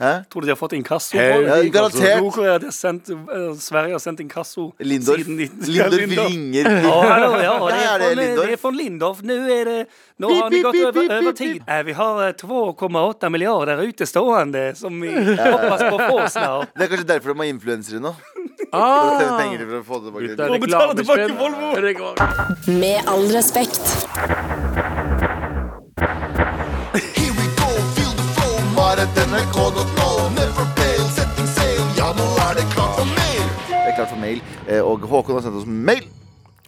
B: Hæ?
C: Tror du de har fått inkasso på det?
D: Hell,
B: Ja, garantert.
C: Nord-Korea, de har sendt, eh, Sverige har sendt inkasso
B: Lindorf,
C: siden 19...
B: Lindorf ringer
C: Ja, Ah. hallo, ja,
B: Nei,
C: det er,
B: er det
C: från, eh,
B: Lindorf?
C: det er fra Lindorf. Nå er det Nå har ni gått over, over tid. Eh, Vi har eh, 2,8 milliarder utestående som vi hoppas på å få snart.
B: Det er kanskje derfor de har influensere nå. Og tjene penger for å få det tilbake.
D: Ah! Det er
C: Må betale tilbake
D: reklamespenn.
C: Volvo.
D: Rekla-
A: Med all respekt.
F: Here we go, feel the flow. Maratnrk.no. Never fail, setting sail. Ja, nå er det klart for mer.
B: Det er klart for mail. Eh, Og Håkon har sendt oss mail.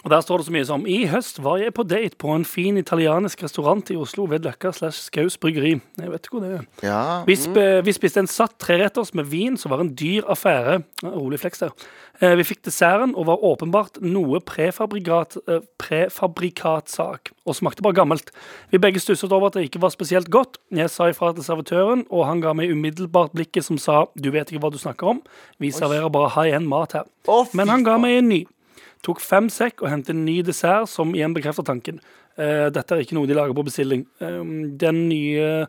C: Og der står det så mye som I høst var jeg på date på en fin italiensk restaurant i Oslo ved Løkka slash Skaus bryggeri. Jeg vet ikke hvor det er.
B: Ja.
C: Vi, sp eh, vi spiste en satt treretters med vin, som var en dyr affære. Ja, Rolig fleks der. Eh, Vi fikk desserten og var åpenbart noe prefabrikat, eh, prefabrikatsak, og smakte bare gammelt. Vi begge stusset over at det ikke var spesielt godt. Jeg sa ifra til servitøren, og han ga meg umiddelbart blikket som sa 'du vet ikke hva du snakker om', vi serverer bare high end mat her.
B: Å, fy
C: Men han ga meg en ny. Tok fem sekk og hentet en ny dessert, som igjen bekrefter tanken. Eh, dette er ikke noe de lager på bestilling. Eh, den nye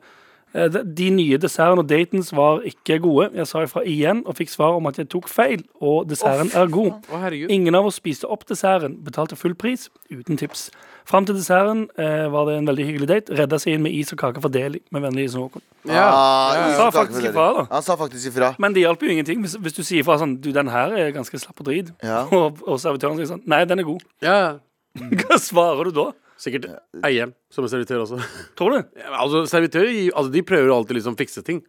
C: eh, de- de nye dessertene og datens var ikke gode. Jeg sa ifra igjen og fikk svar om at jeg tok feil, og desserten er god.
D: Å, herregud.
C: Ingen av oss spiste opp desserten, betalte full pris, uten tips. Fram til desserten eh, var det en veldig hyggelig date. Redda seg inn med is og kake for Deli, med vennlig hilsen Håkon.
B: Ah,
D: Ja.
B: ingen
C: Sa
B: som takker for
C: faktisk
B: det.
C: ifra, da.
B: Han sa faktisk ifra.
C: Men det hjalp jo ingenting hvis, hvis du sier fra sånn Du, den her er ganske slapp og drit.
B: Ja.
C: Og, og servitøren sier sånn Nei, den er god.
D: Ja.
C: Hva svarer du da?
D: Sikkert eieren som er servitør også.
C: Tror du?
D: Ja, men Altså, servitører gir- altså, de prøver jo alltid liksom fikse ting.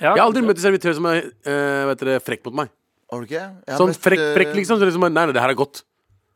C: Ja.
D: Jeg har aldri møtt en servitør som er eh, vet dere, frekk mot meg.
B: Har du ikke? Jeg har
D: Sånn
B: møtt,
D: frekk,
B: eh,
D: frekk liksom. Så liksom nei, nei, det her er godt.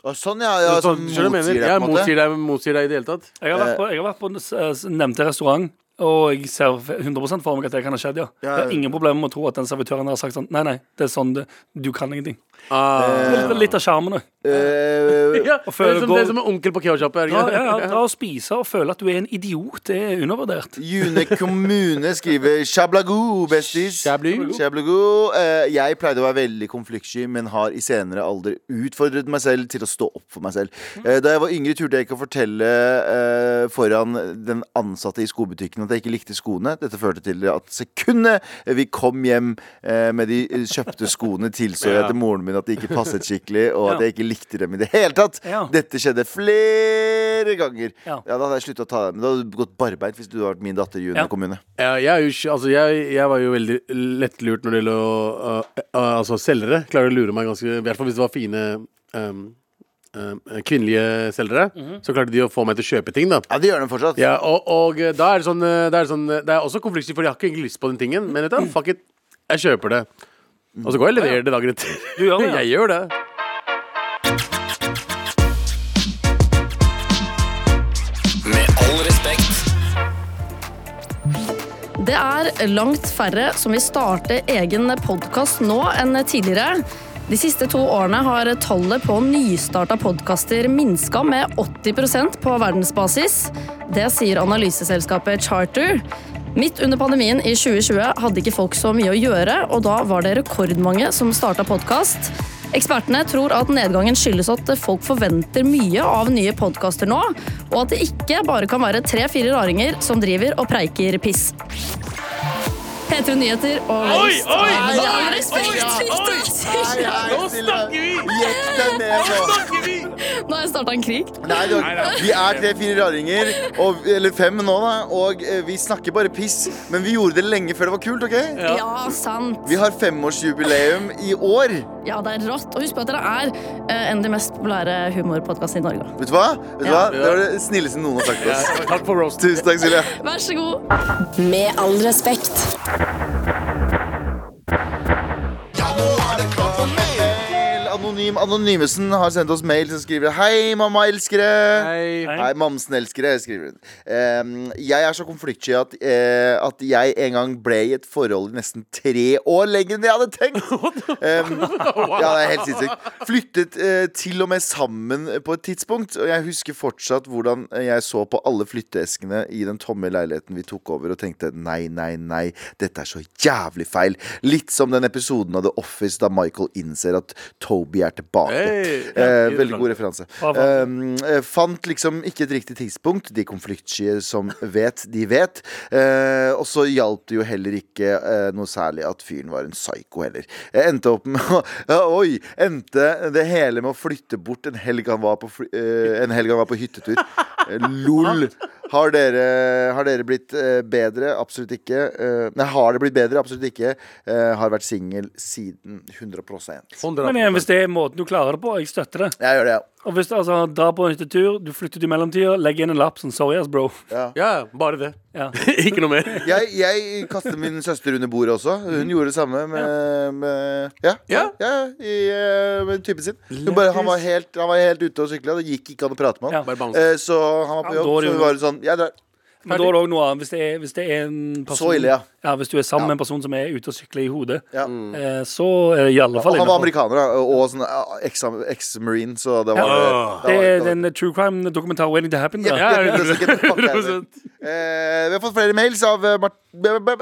B: Å, Sånn, ja. ja
D: Så,
B: sånn,
D: skjønner du hva jeg mener?
B: motsier
D: Jeg
B: deg, på en måte.
D: motsier deg, motsier deg i det hele tatt.
C: Jeg har vært på, jeg har vært på en s- eh, s- nevnte restaurant, og jeg ser 100 for meg at det kan ha skjedd, ja. Jeg har ingen problemer med å tro at den servitøren har sagt sånn Nei, nei, det er sånn det Du kan ingenting.
D: Ah.
C: Det er litt- litt av sjarmen, da.
B: Eh,
D: Ja,
C: og
D: det
C: før
D: er
C: det
D: som, det
C: går-
D: er som en onkel på kebabsjappe. er det
C: Ja,
D: ikke det?
C: ja, ja, dra og spise og føle at du er en idiot, det er undervurdert.
B: June kommune skriver Shablago, bestis.
D: Shablago.
B: Shablago. Eh, jeg pleide å være veldig konfliktsky, men har i senere alder utfordret meg selv til å stå opp for meg selv. Eh, da jeg var yngre, turte jeg ikke å fortelle eh, foran den ansatte i skobutikken at jeg ikke likte skoene. Dette førte til at sekundet vi kom hjem eh, med de kjøpte skoene, tilså jeg til moren min at de ikke passet skikkelig, og at jeg ikke likte dem i det hele tatt.
C: Ja.
B: Dette skjedde flere ganger. Ja,
C: Ja.
B: Da hadde jeg sluttet å ta deg med. Da hadde du gått barbeint hvis du hadde vært min datter i June
C: Ja.
B: kommune.
D: Ja, jeg, er jo ikke, altså, jeg, jeg var jo veldig lettlurt når det gjelder å øh, øh, Altså selgere. Klarer å lure meg ganske I hvert fall hvis det var fine øhm, øhm, kvinnelige selgere.
C: Mhm.
D: Så klarte de å få meg til å kjøpe ting, da.
B: Ja, det gjør den fortsatt.
D: Ja, og, og øh, da er det sånn øh, Det er, sånn, øh, det er også konfliktsky, for jeg har ikke egentlig lyst på den tingen. Men vet du, hva, fuck it, jeg kjøper det. Og så går jeg og leverer det dagen etter.
C: Du gjør det, ja.
D: Jeg gjør det.
G: Med all respekt.
H: Det er langt færre som vil starte egen podkast nå enn tidligere. De siste to årene har tallet på nystarta podkaster minska med 80 på verdensbasis. Det sier analyseselskapet Charter. Midt under pandemien i 2020 hadde ikke folk så mye å gjøre, og da var det rekordmange som starta podkast. Ekspertene tror at nedgangen skyldes at folk forventer mye av nye podkaster nå, og at det ikke bare kan være tre-fire raringer som driver og preiker piss. P3 Nyheter og Vest.
D: oi,
H: Med all respekt!
B: Nei, nei, stille. Gjett deg ned nå.
H: Nå har jeg starta en krig.
B: Nei, du, vi er tre-fire raringer, og, eller fem nå, da, og eh, vi snakker bare piss. Men vi gjorde det lenge før det var kult, OK?
H: Ja, sant.
B: Vi har femårsjubileum i år.
H: Ja, det er rått. Og husk på at dere er eh, en av de mest populære humorpodkastene i Norge.
B: Vet du hva? Vet du hva?
H: Ja.
B: Det var det snilleste noen har sagt til oss.
D: Takk for roast.
B: Tusen takk, Silje.
H: Vær så god.
A: Med all respekt.
F: Ja, nå er det klart for mer.
B: Mail. Anonym Anonymesen har sendt oss mail som skriver Hei, mamma elskere.
D: Hei.
B: Hei, mamsen-elskere, skriver hun. Ehm, jeg er så konfliktsky at, eh, at jeg en gang ble i et forhold i nesten tre år lenger enn jeg hadde tenkt. Ehm, ja, det er helt sinnssykt. Flyttet eh, til og med sammen på et tidspunkt, og jeg husker fortsatt hvordan jeg så på alle flytteeskene i den tomme leiligheten vi tok over, og tenkte nei, nei, nei, dette er så jævlig feil. Litt som den episoden av The Office da Michael innser at Toby er tilbake.
D: Hey.
B: Eh, veldig god referanse.
C: Hva var det?
B: Um, eh, fant liksom ikke et riktig tidspunkt. De konfliktsky som vet, de vet. Eh, og så hjalp det jo heller ikke eh, noe særlig at fyren var en psyko heller. Jeg endte opp med å ja, Oi! Endte det hele med å flytte bort en helg han var på, fly, eh, en helg han var på hyttetur. Eh, Lol. Har dere, har dere blitt eh, bedre? Absolutt ikke. Eh, nei, har det blitt bedre? Absolutt ikke. Eh, har vært singel siden 100
C: Men igjen, hvis det er måten du klarer det på, jeg støtter det.
B: Jeg gjør det, ja.
C: Og hvis du altså, drar på en hyttetur, du flytter til mellomtida, legg igjen en lapp sånn sorry ass, bro.
D: Ja, ja, bare det.
C: Ja.
D: ikke noe mer.
B: Jeg, jeg kastet min søster under bordet også. Hun gjorde det samme med, med Ja, ja,
D: Ja.
B: ja i, eh, med typen sin. Hun bare, han, var helt, han var helt ute og sykla. Det gikk ikke an å prate med
C: Ja.
B: han.
D: Bare bounce.
B: Eh, Så han var på
C: Ja,
B: jobb,
C: da er det
B: så
C: jo
B: hun var sånn Jeg drar.
C: Men da er det òg noe annet. Hvis det er, hvis det er en
B: Så
C: person
B: ille, ja.
C: Hvis du er sammen med en person som er ute og sykler i hodet,
B: Ja.
C: eh, så er det i alle
B: Og
C: fall
B: han var
C: innenfor.
B: amerikaner da, og sånn eh, ex- ex-marine, så det var
C: Ah. Det er
B: det var-
C: den eh, true crime-dokumentaren 'Waiting to Happen'.
B: Ja,
C: Da.
B: ja,
D: Ja, ja,
B: 100%. Fuck, jeg er
D: 100%.
B: det. Eh, vi har fått flere mails av eh, Mart...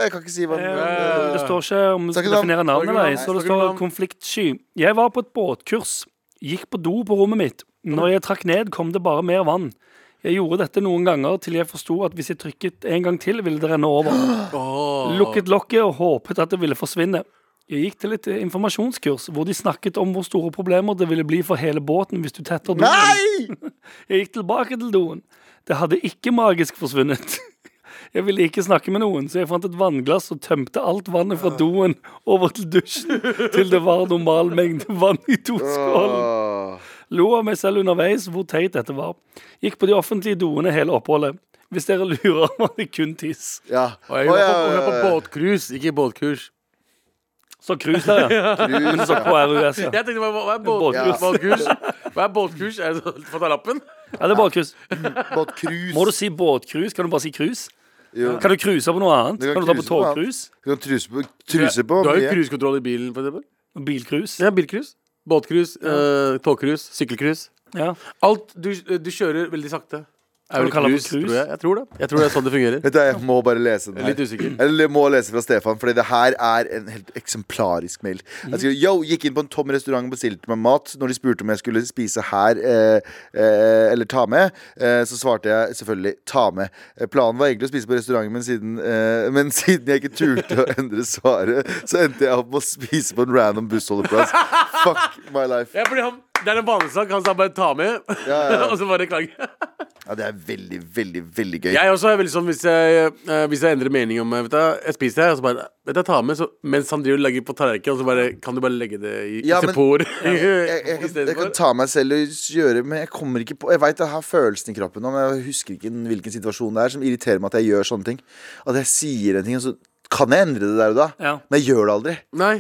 B: Jeg kan ikke si hva den
C: Eh, Det står ikke om
B: Snakker
C: du skal
B: du om-
C: definere navn
D: snakker du om-
C: eller ei. Så det
D: snakker du
C: står
D: om-
C: 'konfliktsky'. Jeg var på et båtkurs. Gikk på do på rommet mitt. Når jeg trakk ned, kom det bare mer vann. Jeg gjorde dette noen ganger til jeg forsto at hvis jeg trykket en gang til, ville det renne over. Lukket lokket og håpet at det ville forsvinne. Jeg gikk til et eh, informasjonskurs hvor de snakket om hvor store problemer det ville bli for hele båten hvis du tetter doen.
B: Nei!
C: Jeg gikk tilbake til doen. Det hadde ikke magisk forsvunnet. Jeg ville ikke snakke med noen, så jeg fant et vannglass og tømte alt vannet fra doen over til dusjen til det var normal mengde vann i doskålen.
B: Åh.
C: Lo av meg selv underveis hvor teit dette var. Gikk på de offentlige doene hele oppholdet. Hvis dere lurer, var det kun tiss.
B: Ja.
D: Og
B: Å,
D: jeg var
B: ja,
D: på, jeg var på
B: ja, ja.
D: båtcruise, ikke båtkurs.
C: Så krus der, ja.
B: Cruise,
C: Så KRUS, ja.
D: Jeg tenkte, hva, hva er båt,
B: Båtkurs.
D: båtkurs? Hva er båtkurs? Er det sånn, fått av lappen?
C: ja det er båtkrus.
B: båt, cruise.
C: Må du si båtkrus? Kan du bare si krus?
B: Jo.
C: Kan du cruise på noe annet?
B: Du kan
C: Kan du ta på
B: cruise på noe annet.
C: togkrus?
B: Du kan truse på, truse på
D: Du har jo
B: mye.
D: cruisekontroll i bilen, for eksempel.
C: Bilkrus?
D: Ja, bilcruise. Båtcruise, eh, togcruise, sykkelcruise.
C: Ja.
D: Alt du, du kjører veldig sakte.
C: Kan du kalle det
D: cruise,
C: for cruise?
D: Tror jeg. jeg tror det. Jeg tror det er sånn det fungerer.
B: Vet du, hva, jeg må bare lese den her.
D: Litt usikker.
B: Eller jeg må lese fra Stefan, Fordi det her er en helt eksemplarisk mail. Jeg skriver, Yo, gikk inn på en tom restaurant og bestilte meg mat. Når de spurte om jeg skulle spise her eh, eh, eller ta med, eh, så svarte jeg selvfølgelig ta med. Eh, Planen var egentlig å spise på restauranten, men siden, eh, men siden jeg ikke turte å endre svaret, så endte jeg opp med å spise på en random bussholdeplass. Fuck my life.
D: Ja, fordi han, det er en vanesak. Han sa bare ta med,
B: Ja, ja, ja.
D: og så bare klage.
B: Ja, det er veldig, veldig, veldig gøy.
D: Jeg også er veldig sånn hvis jeg, eh, hvis jeg endrer mening om eh, vet du, Jeg spiser det her, og så bare Vet du, jeg tar med så, Mens han driver og lager på tallerkenen, og så bare Kan du bare legge det i
B: Ja,
D: ja,
B: men-
D: isopor?
B: jeg, jeg, kan, jeg kan ta meg selv og gjøre Men jeg kommer ikke på Jeg vet jeg har følelsen i kroppen nå, Men jeg husker ikke hvilken situasjon det er Som irriterer meg at jeg gjør sånne ting At jeg sier en ting Og så kan jeg endre det der og da
C: Ja.
B: Men jeg gjør det aldri
D: Nei.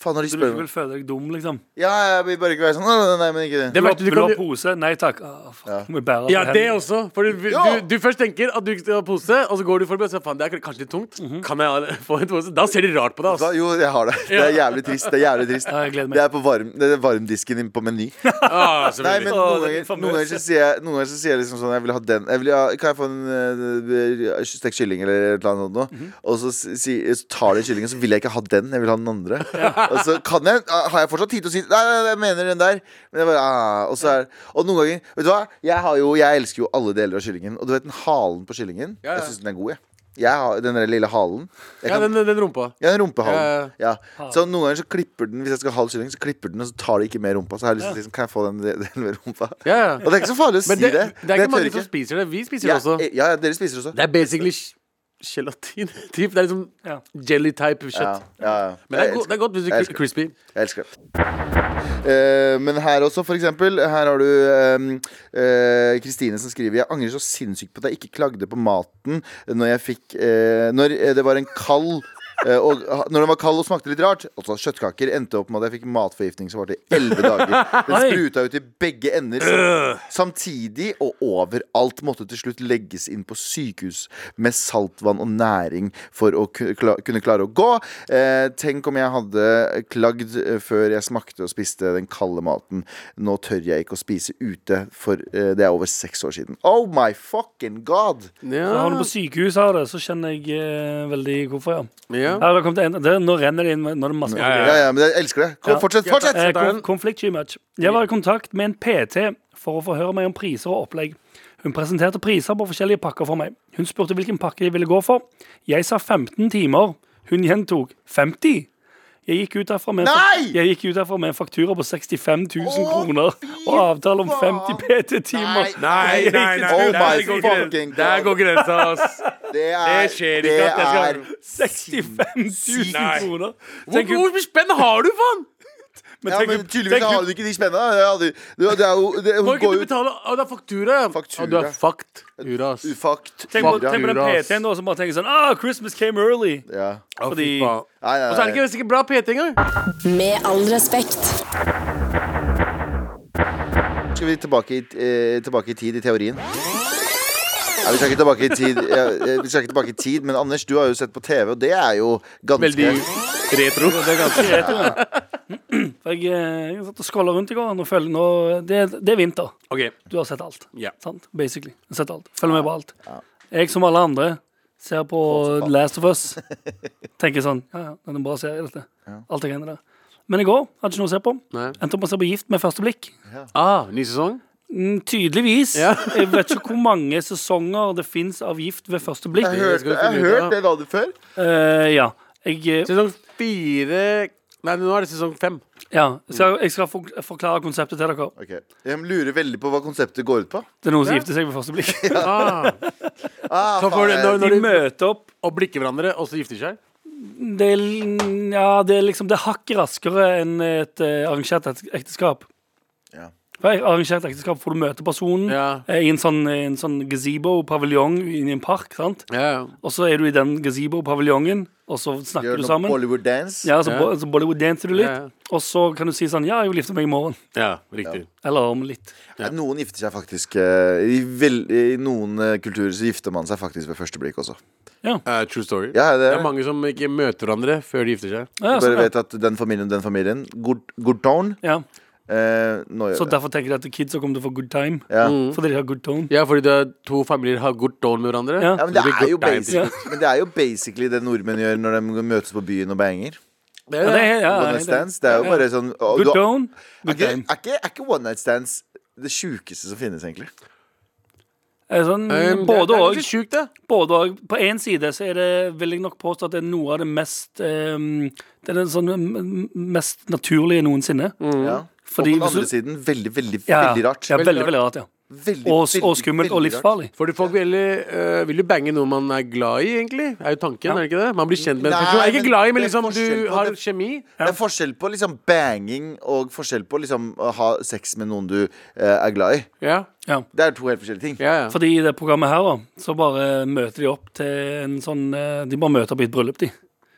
B: Faen når de
C: Så du
B: spør
C: ikke
B: meg
C: vil føle deg dum, liksom?
B: Ja, jeg vil bare ikke være sånn Nei, nei, nei, men ikke det
D: Det
C: Vil du
D: verste
C: ha-
D: du
C: vil du
D: kan
C: ha
D: gjø-
C: pose? Nei takk. Ah, fuck, må jeg bære
D: Ja,
C: det
D: det
C: hen?
D: også. For du, du,
B: Ja!
D: du først tenker at du ikke skal ha pose, og så går du forbi og sier faen, det er kanskje litt tungt. Kan jeg få en pose? Da ser de rart på deg,
B: Da,
D: altså.
B: jo, jeg har det Det er jævlig trist Det er jævlig trist
C: Ja, jeg gleder meg.
B: Det er på varm, det er varmdisken inn på meny
D: Ah,
B: Nei,
D: selvfølgelig.
B: men
C: Åh,
B: noen
C: det er
B: ganger,
C: famøs.
B: noen ganger så sier jeg Noen ganger så sier jeg liksom sånn Jeg vil ha den jeg vil ha, Kan jeg få en uh, stekt kylling eller et eller annet sånt
D: Mhm.
B: noe Og så, si- si, så tar de kyllingen Så vil jeg ikke ha den Jeg vil ha den andre Og så kan jeg ah, Har jeg fortsatt tid til å si Nei, nei, nei, jeg mener den der Men jeg bare ah, Og så er Og noen ganger Vet du hva? Jeg har jo Jeg elsker jo alle deler av kyllingen Og du vet den halen på kyllingen
D: Ja, ja.
B: Jeg synes den er god, jeg jeg har den der lille halen Jeg
D: Ja,
B: kan
D: den, den rumpa.
B: ja, den rumpehalen.
D: Ja,
B: Ja. Så noen ganger så klipper den Hvis jeg skal ha halv kylling, så klipper den, og så tar det ikke med rumpa. Så har jeg lyst til å si sånn, kan jeg få den, den med rumpa?
D: Ja, ja.
B: Og det er ikke så farlig å si
D: Men
B: det.
D: det, det er
B: men jeg
D: ikke mange
B: tør
D: som spiser det. Vi spiser
B: ja,
D: det også.
B: eh, ja, ja, dere spiser også.
D: Det er basically gj- gelatin. typ. Det er liksom
C: Ja.
D: jelly type
B: Ja,
D: kjøtt.
B: ja,
D: Men det er,
B: Jeg
D: go
B: elsker-
D: det er godt hvis du
B: Jeg elsker
D: er
B: det.
D: crispy.
B: Jeg elsker det. Eh, men her også, for eksempel. Her har du ehm, eh, Kristine som skriver Jeg angrer så sinnssykt på at jeg ikke klagde på maten når jeg fikk eh, Når eh, det var en kald eh, og, når den var kald og smakte litt rart Altså kjøttkaker endte opp med at jeg fikk matforgiftning som varte i elleve dager. Den
C: Oi.
B: spruta ut i begge ender. Samtidig og overalt måtte til slutt legges inn på sykehus med saltvann og næring for å ku- kla- kunne klare å gå. Eh, tenk om jeg hadde klagd eh, før jeg smakte og spiste den kalde maten. Nå tør jeg ikke å spise ute, for eh, det er over seks år siden. Oh my fucking god!
C: Når jeg
D: Ja,
C: havner på sykehus av det, så kjenner jeg eh, veldig hvorfor, ja.
D: ja.
C: Her har det kommet en, det, nå renner det inn med- Nå er det masse
D: Ja,
B: Ja, ja, men jeg elsker det. Kom,
C: Ja.
B: fortsett,
D: Ja,
B: fortsett!
D: eh,
C: Eh,
D: Stein.
C: konf- Konfliktsky match. Jeg var i kontakt med en PT for å forhøre meg om priser og opplegg. Hun presenterte priser på forskjellige pakker for meg. Hun spurte hvilken pakke jeg ville gå for. Jeg sa 15 timer. Hun gjentok 50. Jeg gikk ut derfra med,
B: Nei!
C: jeg gikk ut derfra med en faktura på 65 000
B: Å,
C: kroner
B: fy
C: og avtale om 50
B: faen.
C: PT-timer.
D: Nei, nei, nei,
B: Oh
D: der
B: my
D: går gren-
B: fucking
D: Der
B: God.
D: går grensa, ass.
B: Det er
D: Det skjer ikke at jeg skal-
B: er-
C: 65 000
D: Nei.
C: kroner.
D: Hvor,
C: Tenk,
D: hvor mye spenn har du, faen?
C: men
B: ja,
C: tenk,
B: men tydeligvis
C: tenk-
B: hadde du ikke de spennende. da. Det hadde, det, var- det er jo det,
D: Må
B: Hun
D: ikke
B: går
D: du
B: jo
D: betale Å, det er faktura. ja.
B: Faktura.
D: Å, du er fucked. Ura, ass.
B: ufakt.
C: tenk, på,
D: Fuck,
C: tenk på den
D: Judas.
C: PT-en da, som bare tenker sånn Ah, Christmas came early.
B: Ja.
D: Å,
C: Fordi
D: fy faen.
B: Nei, nei,
D: Og så er det
B: nei.
D: ikke sikkert bra PT engang.
A: Med all respekt.
B: Skal vi tilbake i, eh, tilbake i tid i teorien? Nei, vi skal ikke tilbake i tid, ja, eh, vi skal ikke tilbake i tid men Anders, du har jo sett på TV, og det er jo ganske
D: Veldig retro. Det er ganske
C: for jeg, eh, jeg satt og scrolla rundt i går. Nå følger, nå, det, det er vinter.
D: Ok.
C: Du har sett alt.
D: Ja.
C: Sant? Basically. Jeg har sett alt. Følger med på alt. Jeg, som alle andre, ser på Last of Us. Tenker sånn Ja, ja, det er en bra serie, dette. Alt det greiene der. Men i går hadde ikke noe å se på.
D: Nei.
C: Endte opp med å se på Gift med første blikk.
D: Ah, ny sesong?
C: Mm, tydeligvis.
D: Ja.
C: jeg vet ikke hvor mange sesonger det fins av Gift ved første blikk.
B: Jeg hørte
D: skal vi
B: jeg har
D: finne ut av.
B: hørt den aldri før.
C: Eh, ja. Jeg, eh,
D: Sesong fire Nei, nå er det sesong fem.
C: ja. Jeg skal, jeg skal for- forklare konseptet til dere.
B: Ok. Jeg lurer veldig på hva konseptet går ut på.
C: Det er noen som gifter seg ved første blikk.
D: Ah.
B: Ah,
D: Så får
B: faen,
D: du- når-
B: jeg-
D: når
C: De møter opp
D: Og blikker hverandre, og så gifter de seg?
C: det er, l- ja, det er liksom Det er hakket raskere enn et eh, arrangert et- ekteskap.
B: Ja.
C: For et arrangert ekteskap får du møte personen
D: Ja.
C: eh, i en sånn, en sånn gazebo-paviljong inni en park. sant?
D: Ja, ja.
C: Og så er du i den gazebo-paviljongen, og så
B: Gjør
C: snakker du
B: noe
C: sammen.
B: Bollywood dance.
C: Ja, så,
D: Ja.
C: bo- så Bollywood-danser du litt,
D: Ja, ja.
C: og så kan du si sånn Ja, jeg vil gifte meg i morgen.
D: ja riktig.
C: Eller om litt.
B: Nei, Noen gifter seg faktisk eh, i, vel, I noen eh, kulturer så gifter man seg faktisk ved første blikk også.
D: Eh, true story.
B: Ja,
D: det...
B: det,
D: er mange altså. som ikke møter hverandre før de gifter seg.
C: Ja,
B: du
C: sånn,
B: bare
C: ja.
B: vet at den familien den familien Good, good tone.
C: ja.
B: Eh, nå gjør
C: Så
B: vi det.
C: derfor tenker jeg at kids kommer til å få good time.
B: Ja.
C: Fordi de har good tone.
D: Ja, fordi det er to familier har good tone med hverandre.
C: Ja.
B: Ja, men, det
D: blir
B: er jo
D: good time
B: basic, men det er jo basically det nordmenn gjør når de møtes på byen og banger.
C: Ja,
D: Det er
C: det,
D: det.
C: er- ja,
B: One
C: det
B: night
C: er-
B: stands. Det er jo bare sånn å,
C: Good
B: du har-
C: tone,
B: er,
C: good
B: ikke,
C: time.
B: er, ikke, er ikke one night stands det sjukeste som finnes, egentlig?
C: Eh, Sånn,
B: Mm,
D: Um, det
C: både
D: er
C: og.
D: ganske sjukt, det.
C: Både og. På én side så er det, vil jeg nok påstå at det er noe av det mest ehm, Det er det sånn, mm, mest naturlige noensinne.
B: Ja.
C: Fordi
B: og på den
C: hvis du-
B: andre siden veldig, veldig,
C: Ja,
B: veldig rart.
C: Ja, veldig, veldig rart, ja.
B: Veldig,
C: Og,
B: veldig,
C: og skummelt og
B: veldig rart.
C: livsfarlig.
D: Fordi folk vil, eh, vil jo bange noe man er glad i, egentlig. Er jo tanken, er det ikke det? Man blir kjent med en
B: Nei,
D: person. Er ikke
B: men
D: glad i,
B: det
D: men
B: er
D: liksom du
B: forskjell på
D: har
B: det-
D: kjemi.
B: Det er forskjell på liksom banging og forskjell på liksom å ha sex med noen du eh, er glad i.
D: Ja,
B: Det er to helt forskjellige ting.
D: ja, ja.
C: Fordi i det programmet her, da, så bare møter de opp til en sånn eh, De bare møter opp i et bryllup, de.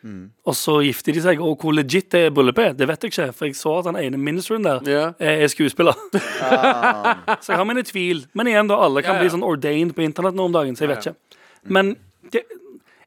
B: Mm.
C: Og så gifter de seg. Og hvor legit det bryllupet er, det vet jeg ikke. For jeg så at han ene ministeren der
D: Ja.
C: eh, er skuespiller. Ah. så jeg har mine tvil. Men igjen, da. Alle kan
D: Ja, ja.
C: bli sånn ordained på internett nå om dagen, så jeg vet ikke. Men det,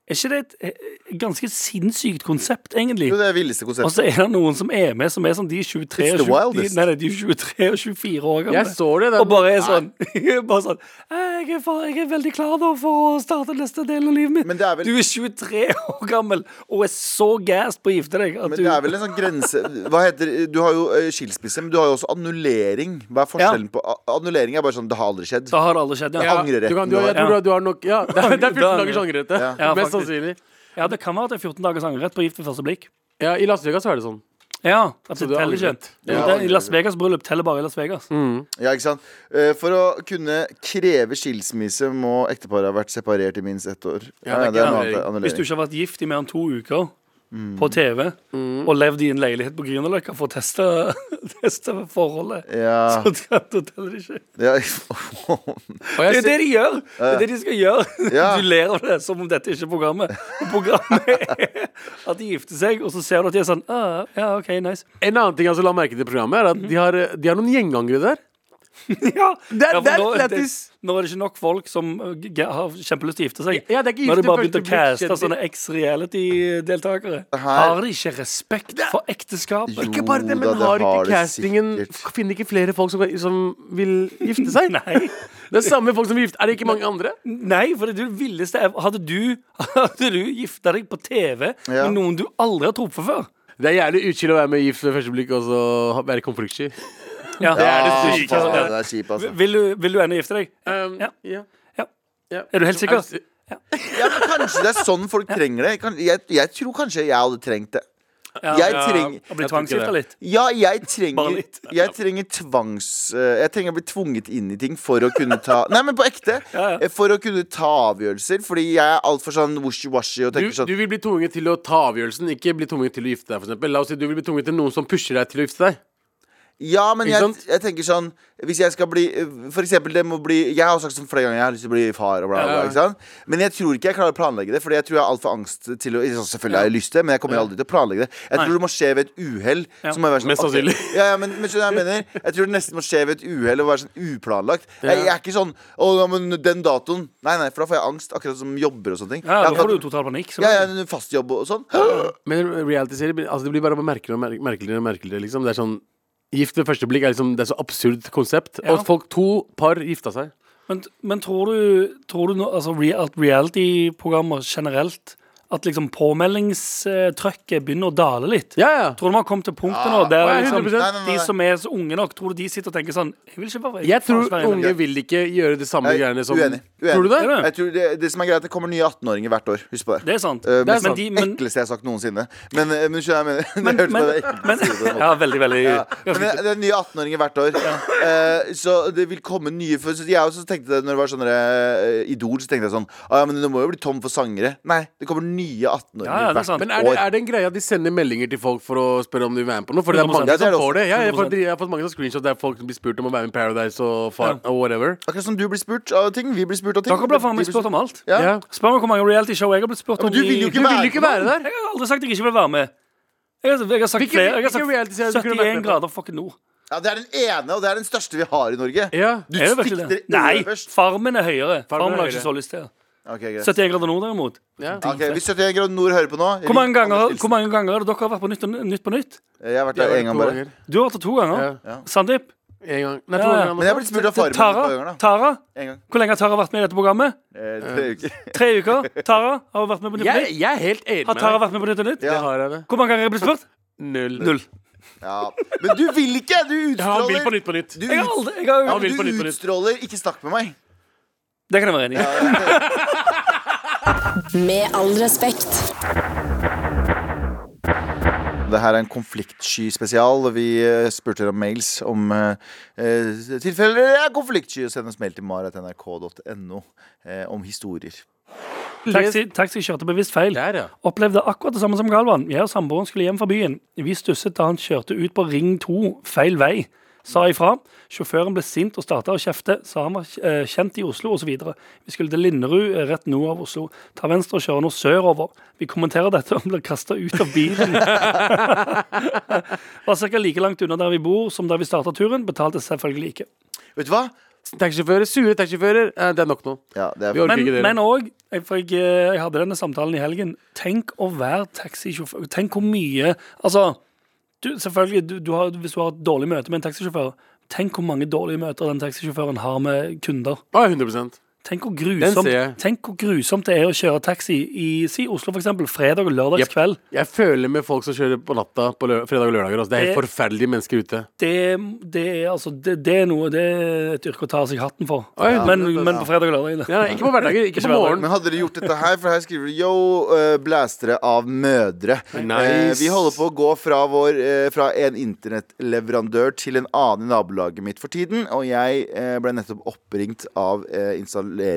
C: er ikke det et eh, ganske sinnssykt konsept, egentlig?
B: Jo, det er det villeste
C: Og
B: konseptet.
C: så er det noen som er med, som er sånn de er 23
B: It's the
C: og 20 de,
B: wildest.
C: nei, nei, de er 23 og 24 år gamle.
D: Jeg så det. den-
C: Og bare er sånn, bare sånn jeg er, for, jeg er veldig klar nå for å starte neste del av livet mitt.
B: Men det er vel-
C: Du er 23 år gammel og er så gassed på å gifte deg. At
B: Men
C: du,
B: det er vel en sånn grense Hva heter Du har jo eh, skilsmisse, men du har jo også annullering. Hva er forskjellen på a- Annullering er bare sånn Det har aldri skjedd.
C: Da har det aldri skjedd. Ja.
D: Ja,
C: Ja.
B: angreretten
D: du kan, du, har- jeg
C: du har.
D: tror du har- du har nok Ja, det er, det er 14 dagers angrerett, det.
B: Ja.
C: Ja,
D: Mest
C: faktisk.
D: sannsynlig.
C: det kan være at det er 14 dagers angrerett på gift ved første blikk.
D: Ja, I Las Vegas er det sånn.
C: Ja, at det
D: du har
C: teller ikke.
D: angrerett.
C: Det,
B: Ja, Mm.
C: I Las Vegas bryllup teller bare i Las Vegas.
B: Ja, ikke sant? Eh, For å kunne kreve skilsmisse må ekteparet ha vært separert i minst ett år.
D: Ja, det er ikke
B: noe
D: annullering.
B: annet,
C: Hvis du ikke har vært gift i mer enn to uker
B: Mm.
C: på TV og levd i en leilighet på Grünerløkka for å teste, teste forholdet,
B: Ja.
C: så da teller det ikke.
B: Ja.
D: Og
C: Det
D: jeg
C: er det de gjør! Det er det de skal gjøre.
B: Ja.
C: Du ler av det som om dette ikke er programmet. Og Programmet er at de gifter seg, og så ser du at de er sånn ah, Ja, OK, nice.
D: En annen ting jeg altså la merke til i programmet, er at de har, de har noen gjengangere der.
C: Ja,
D: Det er-
C: for
D: det er
C: nå,
D: lættis.
C: nå er det ikke nok folk som uh, g- har kjempelyst til å gifte seg.
D: Ja, det er ikke
C: nå har
D: gifte
C: de bare begynt å
D: første blikk,
C: caste
D: kjendis.
C: sånne eks-reality-deltakere.
B: Her-
C: Har de ikke respekt for
B: Jo.
C: ekteskapet?
D: Ikke bare det, men
B: da, det har
D: har ikke
B: det
D: castingen
B: sikkert.
D: Finner ikke flere folk som, som vil gifte seg?
C: Nei.
D: Det er samme folk som vil gifte Er det ikke mange andre?
C: Nei, for det er det villeste er- Hadde du, hadde du gifta deg på TV
B: Ja.
C: med noen du aldri har truffet før?
D: Det er jævlig utkild å være med gift ved første blikk og så ha- være konfliktsky.
C: Ja, det
B: Ja,
C: er det
B: faen,
C: sykeste.
B: det er kjipt, altså.
C: Vil du, vil du ennå gifte deg?
D: Um,
C: Ja.
D: ja.
C: Ja.
D: Ja.
C: Er du helt sikker?
D: Er du-
B: Ja, men kanskje det er sånn folk trenger det. Kan- Jeg, jeg tror kanskje jeg hadde trengt det. Jeg trenger
C: Å bli
D: Jeg tror ikke
C: tvangsgifta litt.
B: Ja, jeg
C: Bare
B: trenger,
C: litt.
B: jeg trenger tvangs... eh, Jeg trenger å bli tvunget inn i ting for å kunne ta Nei, men på ekte.
C: Ja, ja.
B: eh, For å kunne ta avgjørelser. Fordi jeg er altfor sånn washy-washy og
D: Du,
B: tenker sånn
D: du vil bli tvunget til å ta avgjørelsen, ikke bli tvunget til å gifte deg. For eksempel. La oss si du vil bli tvunget til noen som pusher deg til å gifte deg.
B: Ja, men
D: Ikke
B: jeg,
D: sant?
B: jeg tenker sånn Hvis jeg skal bli For eksempel det må bli Jeg har sagt sånn flere ganger Jeg har lyst til å bli far og bla bla, bla
D: Ja.
B: ikke sant? Men jeg tror ikke jeg klarer å planlegge det Fordi jeg tror jeg har alt for angst til å sånn, Selvfølgelig har jeg lyst til det Men jeg kommer aldri til å planlegge det Jeg tror det må skje ved et uhell Så må jeg være sånn
D: Mest
B: ok.
D: sannsynlig.
B: Ja, ja, men, men skjønner du hva jeg mener Jeg tror det nesten må skje ved et uhell Og være sånn uplanlagt jeg, jeg er ikke sånn Å, ja, men den datoen Nei, nei, for da får jeg angst Akkurat som jobber og sånne ting
C: Ja,
B: Jeg
C: da
B: har
C: får du
B: akkurat-
C: jo total panikk. så-
B: ja, ja, en fast jobb og sånn
D: Men reality-serier blir- altså, Det blir bare merkeligere og mer- merkeligere. og merkeligere liksom. Det er sånn Gift ved første blikk er liksom Det er så absurd konsept.
C: Ja.
D: Og folk, to par gifta seg.
C: Men, men tror du, tror du nå- altså, re- at reality-programmer generelt At liksom påmeldingstrøkket begynner å dale litt?
D: Ja, ja.
C: Tror du man har kommet til punktet nå der
D: Ja,
C: liksom,
D: 100%.
B: Nei, nei, nei,
C: de
B: nei.
C: som er så unge nok, tror du de sitter og tenker sånn Jeg vil ikke bare
D: Jeg tror
C: faen, Sverre,
D: unge vil ikke gjøre de samme
B: Nei,
D: greiene som
B: uenig, uenig.
D: sånn- Tror du det?
C: Ja,
B: Jeg tror det, det som er greit Det kommer nye 18-åringer hvert år Husk på det
C: Det er sant.
B: Eh,
C: men,
B: mest
C: de,
B: sånn
C: men,
B: ekleste jeg har sagt noensinne. Men, eh, men skjønner jeg mener Det hørtes bare ekkelt ut.
C: men, Ja, veldig, veldig
B: Men det, det er nye 18-åringer hvert år. Eh, så det vil komme nye for, så Jeg også tenkte det når det var sånne eh, Idol, så tenkte jeg sånn ah, ja, men Det må jo bli tom for sangere. Nei, det kommer nye 18-åringer
C: Ja, ja, det er
B: hvert
C: sant.
D: Men er det,
B: år.
D: er det en greie at de sender meldinger til folk for å spørre om de vil være med på noe? For det er
C: 100%.
D: mange
B: Ja, det er det
D: som får
B: også.
D: det. Ja, jeg, har fått-
C: 100%.
D: jeg har fått mange sånne screenshots der folk blir spurt om å være med i Paradise og, far, og whatever.
B: Akkurat som du blir spurt av ting. Vi blir spurt av ting.
C: Dere ble faen
B: De
C: meg spurt om alt.
B: Ja.
D: Ja.
C: Spør meg hvor mange realityshow jeg har blitt spurt
B: Ja,
C: om.
B: men du vil jo
D: Du
B: ikke
D: vil ikke være der.
C: Jeg har aldri sagt jeg ikke vil være med. Jeg har, jeg har sagt
D: Hvilke-
C: flere. Jeg har
D: hvilke realityserier
C: sagt
D: du kunne vært
C: 71
D: med på?
C: grader fucking nord.
B: Ja, det er den ene, og det er den største vi har i Norge.
D: Ja.
B: Du
C: Er det virkelig det?
B: sikter
C: Nei,
B: øverst.
C: Farmen er høyere. Farmen
D: er
C: har jeg ikke så
D: høyere.
C: lyst til.
B: Ok, greit.
C: 71 grader nord, derimot.
D: ja.
B: Ok, Hvis 71 grader nord hører på nå
C: Hvor mange
B: ring Anders
C: ganger,
B: Nilsen.
C: hvor mange ganger har dere vært på Nytt, og nytt på Nytt?
B: Jeg har vært der én gang bare.
C: Du har vært der to ganger.
D: Ja.
B: Ja.
C: Sandeep?
D: En gang. Nei,
C: Ja,
D: to
C: ja.
D: ganger.
B: Men jeg har blitt spurt av Farmen et par ganger,
C: Tara?
B: da.
C: Tara?
B: En gang.
C: Hvor lenge har Tara vært med i dette programmet?
B: Eh, tre uker.
C: Tre uker. Tara har hun vært med på Nytt på
D: jeg,
C: Nytt.
D: jeg er helt enig
C: Har Tara
D: med deg.
C: vært med på Nytt på Nytt?
D: Det
B: Ja.
D: har jeg det.
C: Hvor mange ganger har jeg blitt spurt?
D: Null.
C: Null.
B: Ja. Men du vil ikke! Du
D: Jeg har Bill
B: utstråler
D: på Nytt på Nytt.
B: Du,
C: Jeg har
B: ut,
C: aldri, jeg har,
D: Ja, vil på
B: du
D: nytt, på nytt.
B: utstråler 'ikke snakk med meg'.
C: det kan jeg være enig i.
A: Med all respekt.
B: Det her er en konfliktsky spesial. og Vi eh, spurte dere om mails om eh, eh, tilfeller dere er konfliktsky. og Send oss mail til maratnrk.no eh, om historier.
C: Taxi, taxi kjørte bevisst feil.
D: Der, ja.
C: Opplevde akkurat det samme som Galvan. Jeg og samboeren skulle hjem fra byen. Vi stusset da han kjørte ut på Ring 2, feil vei. Sa ifra. Sjåføren ble sint og starta å kjefte. Sa han var eh, kjent i Oslo osv. Vi skulle til Linderud, eh, rett nord av Oslo. Ta venstre og kjøre nå sørover. Vi kommenterer dette og blir kasta ut av bilen. Var ca. like langt unna der vi bor som der vi starta turen. Betalte selvfølgelig ikke.
B: Vet du hva?
D: Taxisjåfører. Sure taxisjåfører. Eh, Det er nok nå.
B: Ja, det
D: Vi
B: er,
D: orker
C: Men,
D: ikke
C: men
D: dere.
C: òg, jeg, for jeg, eh, jeg hadde denne samtalen i helgen Tenk å være taxisjåfør. Tenk hvor mye Altså, du, selvfølgelig, du, du har, hvis du har et dårlig møte med en taxisjåfør, tenk hvor mange dårlige møter den taxisjåføren har med kunder.
D: Å, 100
C: Tenk hvor
D: ser jeg.
C: grusomt, tenk hvor grusomt det er å kjøre taxi i si Oslo, for eksempel. Fredag og lørdags
D: Jep.
C: kveld.
D: Jeg føler med folk som kjører på natta på lø fredag og lørdager. Altså. Det er helt
C: Det-
D: forferdelige mennesker ute.
C: Det, det, er, altså, det, det er noe Det er et yrke å ta av seg hatten for.
D: Ja,
C: men,
D: det-
C: men på fredag og lørdag
D: Ja, nei, ikke på hverdager. Ikke på morgenen.
B: men hadde dere gjort dette her? For her skriver du Yo, eh, blæstere av mødre.
D: Nice.
B: Eh, vi holder på å gå fra, vår, eh, fra en internettleverandør til en annen i nabolaget mitt for tiden. Og jeg eh, ble nettopp oppringt av eh,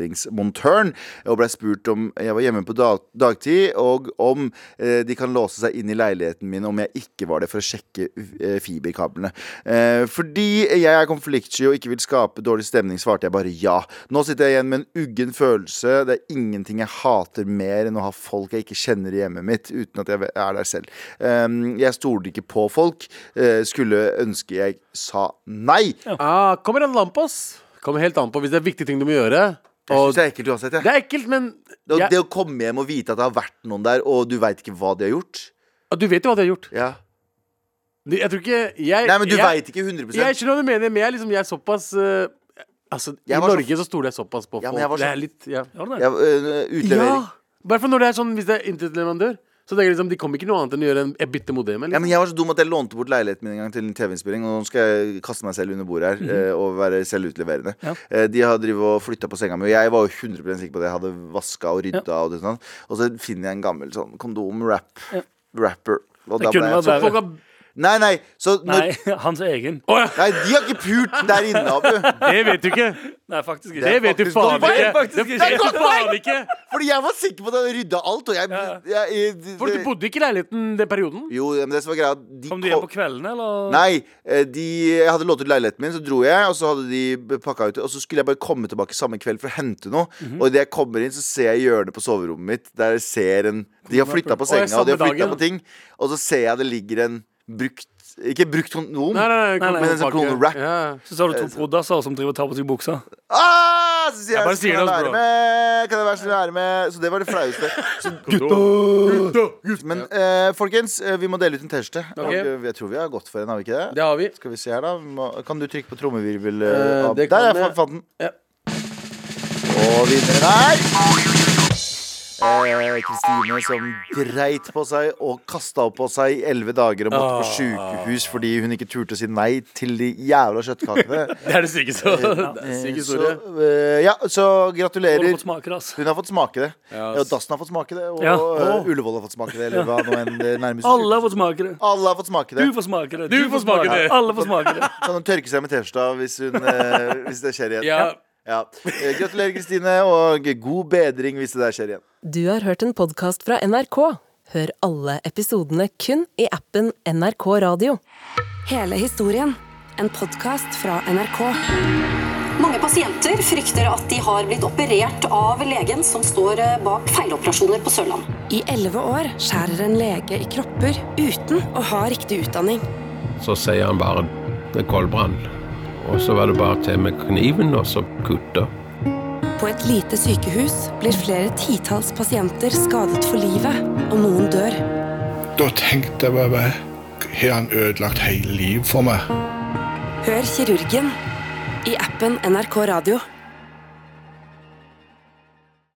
B: installeringsmontøren og ble spurt om jeg var hjemme på dag, dagtid, og om eh, de kan låse seg inn i leiligheten min om jeg ikke var det, for å sjekke eh, fiberkablene. Eh, fordi jeg er konfliktsky og ikke vil skape dårlig stemning, svarte jeg bare ja. Nå sitter jeg igjen med en uggen følelse. Det er ingenting jeg hater mer enn å ha folk jeg ikke kjenner i hjemmet mitt, uten at jeg ve- er der selv. Ehm, jeg stolte ikke på folk. Eh, skulle ønske jeg sa nei.
D: Ah, kommer an på, ass. Kommer helt an på hvis det er viktige ting du må gjøre.
B: Jeg synes
D: Og
B: det er ekkelt uansett.
D: det
B: Jeg.
D: er ekkelt, men
B: Det,
D: jeg,
B: det å komme hjem og vite at det har vært noen der, og du veit ikke hva de har gjort.
D: Ah, du vet jo hva de har gjort.
B: Ja.
D: Jeg tror ikke jeg,
B: Nei, men du
D: jeg,
B: veit ikke 100
D: Jeg skjønner hva du mener, men jeg, er liksom, jeg er såpass eh, Altså,
B: Jeg
D: I
B: var så-
D: Norge så stoler jeg såpass på folk.
B: Ja, men jeg var så-
D: Det er litt ja.
C: inne.
B: Ja, øh, utlevering.
D: Ja! I hvert fall når det er sånn hvis det er internettleverandør. Så tenker jeg liksom, De kommer ikke noe annet enn å gjøre en et bytte modem.
B: Ja,
D: Liksom.
B: men jeg var så dum at jeg lånte bort leiligheten min en gang til en TV-innspilling, og nå skal jeg kaste meg selv under bordet her eh, og være selvutleverende.
C: Mhm. Ja.
B: Eh, De har drivet og flytta på senga mi, og jeg var jo 100 sikker på det. Jeg hadde vaska og rydda og det sånn. Og så finner jeg en gammel sånn kondom-wrap. rapper. Og
C: Det
B: da
C: kunne
B: ble jeg
C: vært verre.
B: sånn
D: Folk har
B: Nei, nei. Så når, nei.
C: Nei, hans egen.
B: de har ikke pult der inne, Abu.
D: Det vet du ikke!
C: Nei, faktisk ikke.
D: Det
B: er
D: vet du
B: faktisk godt.
D: faen
C: Det er
D: ikke!
C: faktisk
D: Det
C: ikke-
D: vet du faen ikke!
B: Fordi jeg var sikker på at jeg rydda alt. Og jeg, jeg, det-
D: For du bodde ikke i leiligheten den perioden?
B: Jo, men det som var greia de
C: Kom du hjem på kveldene, eller?
B: Nei, eh, de, jeg hadde lånt ut leiligheten min, så dro jeg, og så hadde de pakka ut Og så skulle jeg bare komme tilbake samme kveld for å hente noe.
D: Mhm.
B: Og idet jeg kommer inn, så ser jeg hjørnet på soverommet mitt, der jeg ser en De har flytta på
D: Å, ja,
B: senga, og de har
D: samme
B: flytta
D: dagen.
B: på ting, og så ser jeg det ligger en brukt Ikke brukt kondom,
D: Nei, nei, nei,
C: Nei, nei,
B: men en sånn
D: pakke.
B: kondom-wrap.
D: Ja.
C: Så har du to prodasser som driver og tar på seg buksa.
B: Ah, så sier jeg,
D: bare sier
B: kan jeg
D: det, altså,
B: være
D: bro.
B: med? Kan jeg være snill å være med? Så det var det flaueste. Så, men eh, folkens, eh, vi må dele ut en T-skjorte. Og, eh, Jeg tror vi har gått for en, har vi ikke det?
D: Det har vi.
B: Skal vi se her, da. Vi Må, kan du trykke på trommevirvel?
D: Eh,
B: Uh,
D: det
B: Der,
D: kan
B: jeg
D: jeg.
B: fant- fant den.
D: Ja.
B: Og vinneren er Eh, Kristine som dreit på seg og kasta opp på seg i elleve dager og måtte på sjukehus fordi hun ikke turte å si nei til de jævla kjøttkakene.
D: Det er det sykeste. Det er
B: Eh, så,
D: syk historie.
B: eh, ja, så
C: Har du
B: gratulerer.
C: fått smake det, ass?
B: Hun har fått smake det.
D: Ja,
B: og Dassen har fått smake det. Og
C: Ja.
B: eh, Ullevål har fått smake det. Eller hva nå enn det nærmeste
C: Alle har fått smake det.
B: Alle har fått smake
C: Du
B: det.
C: får smake det.
D: Du får smake det.
C: Alle får smake det.
B: Kan hun tørke seg med T-skjorta hvis, hun, eh, hvis det skjer igjen?
D: Ja.
B: Ja. Eh, Gratulerer, Kristine, og god bedring hvis det der skjer igjen.
A: Du har hørt en podkast fra NRK. Hør alle episodene kun i appen NRK Radio.
I: Hele historien. En podkast fra NRK. Mange pasienter frykter at de har blitt operert av legen som står eh, bak feiloperasjoner på Sørlandet.
J: I elleve år skjærer en lege i kropper uten å ha riktig utdanning.
K: Så sier han bare det er koldbrann. Og så var det bare til med kniven og så kutte.
J: På et lite sykehus blir flere titalls pasienter skadet for livet, og noen dør.
F: Da tenkte jeg bare Har han ødelagt hele livet for meg?
J: Hør kirurgen i appen NRK Radio.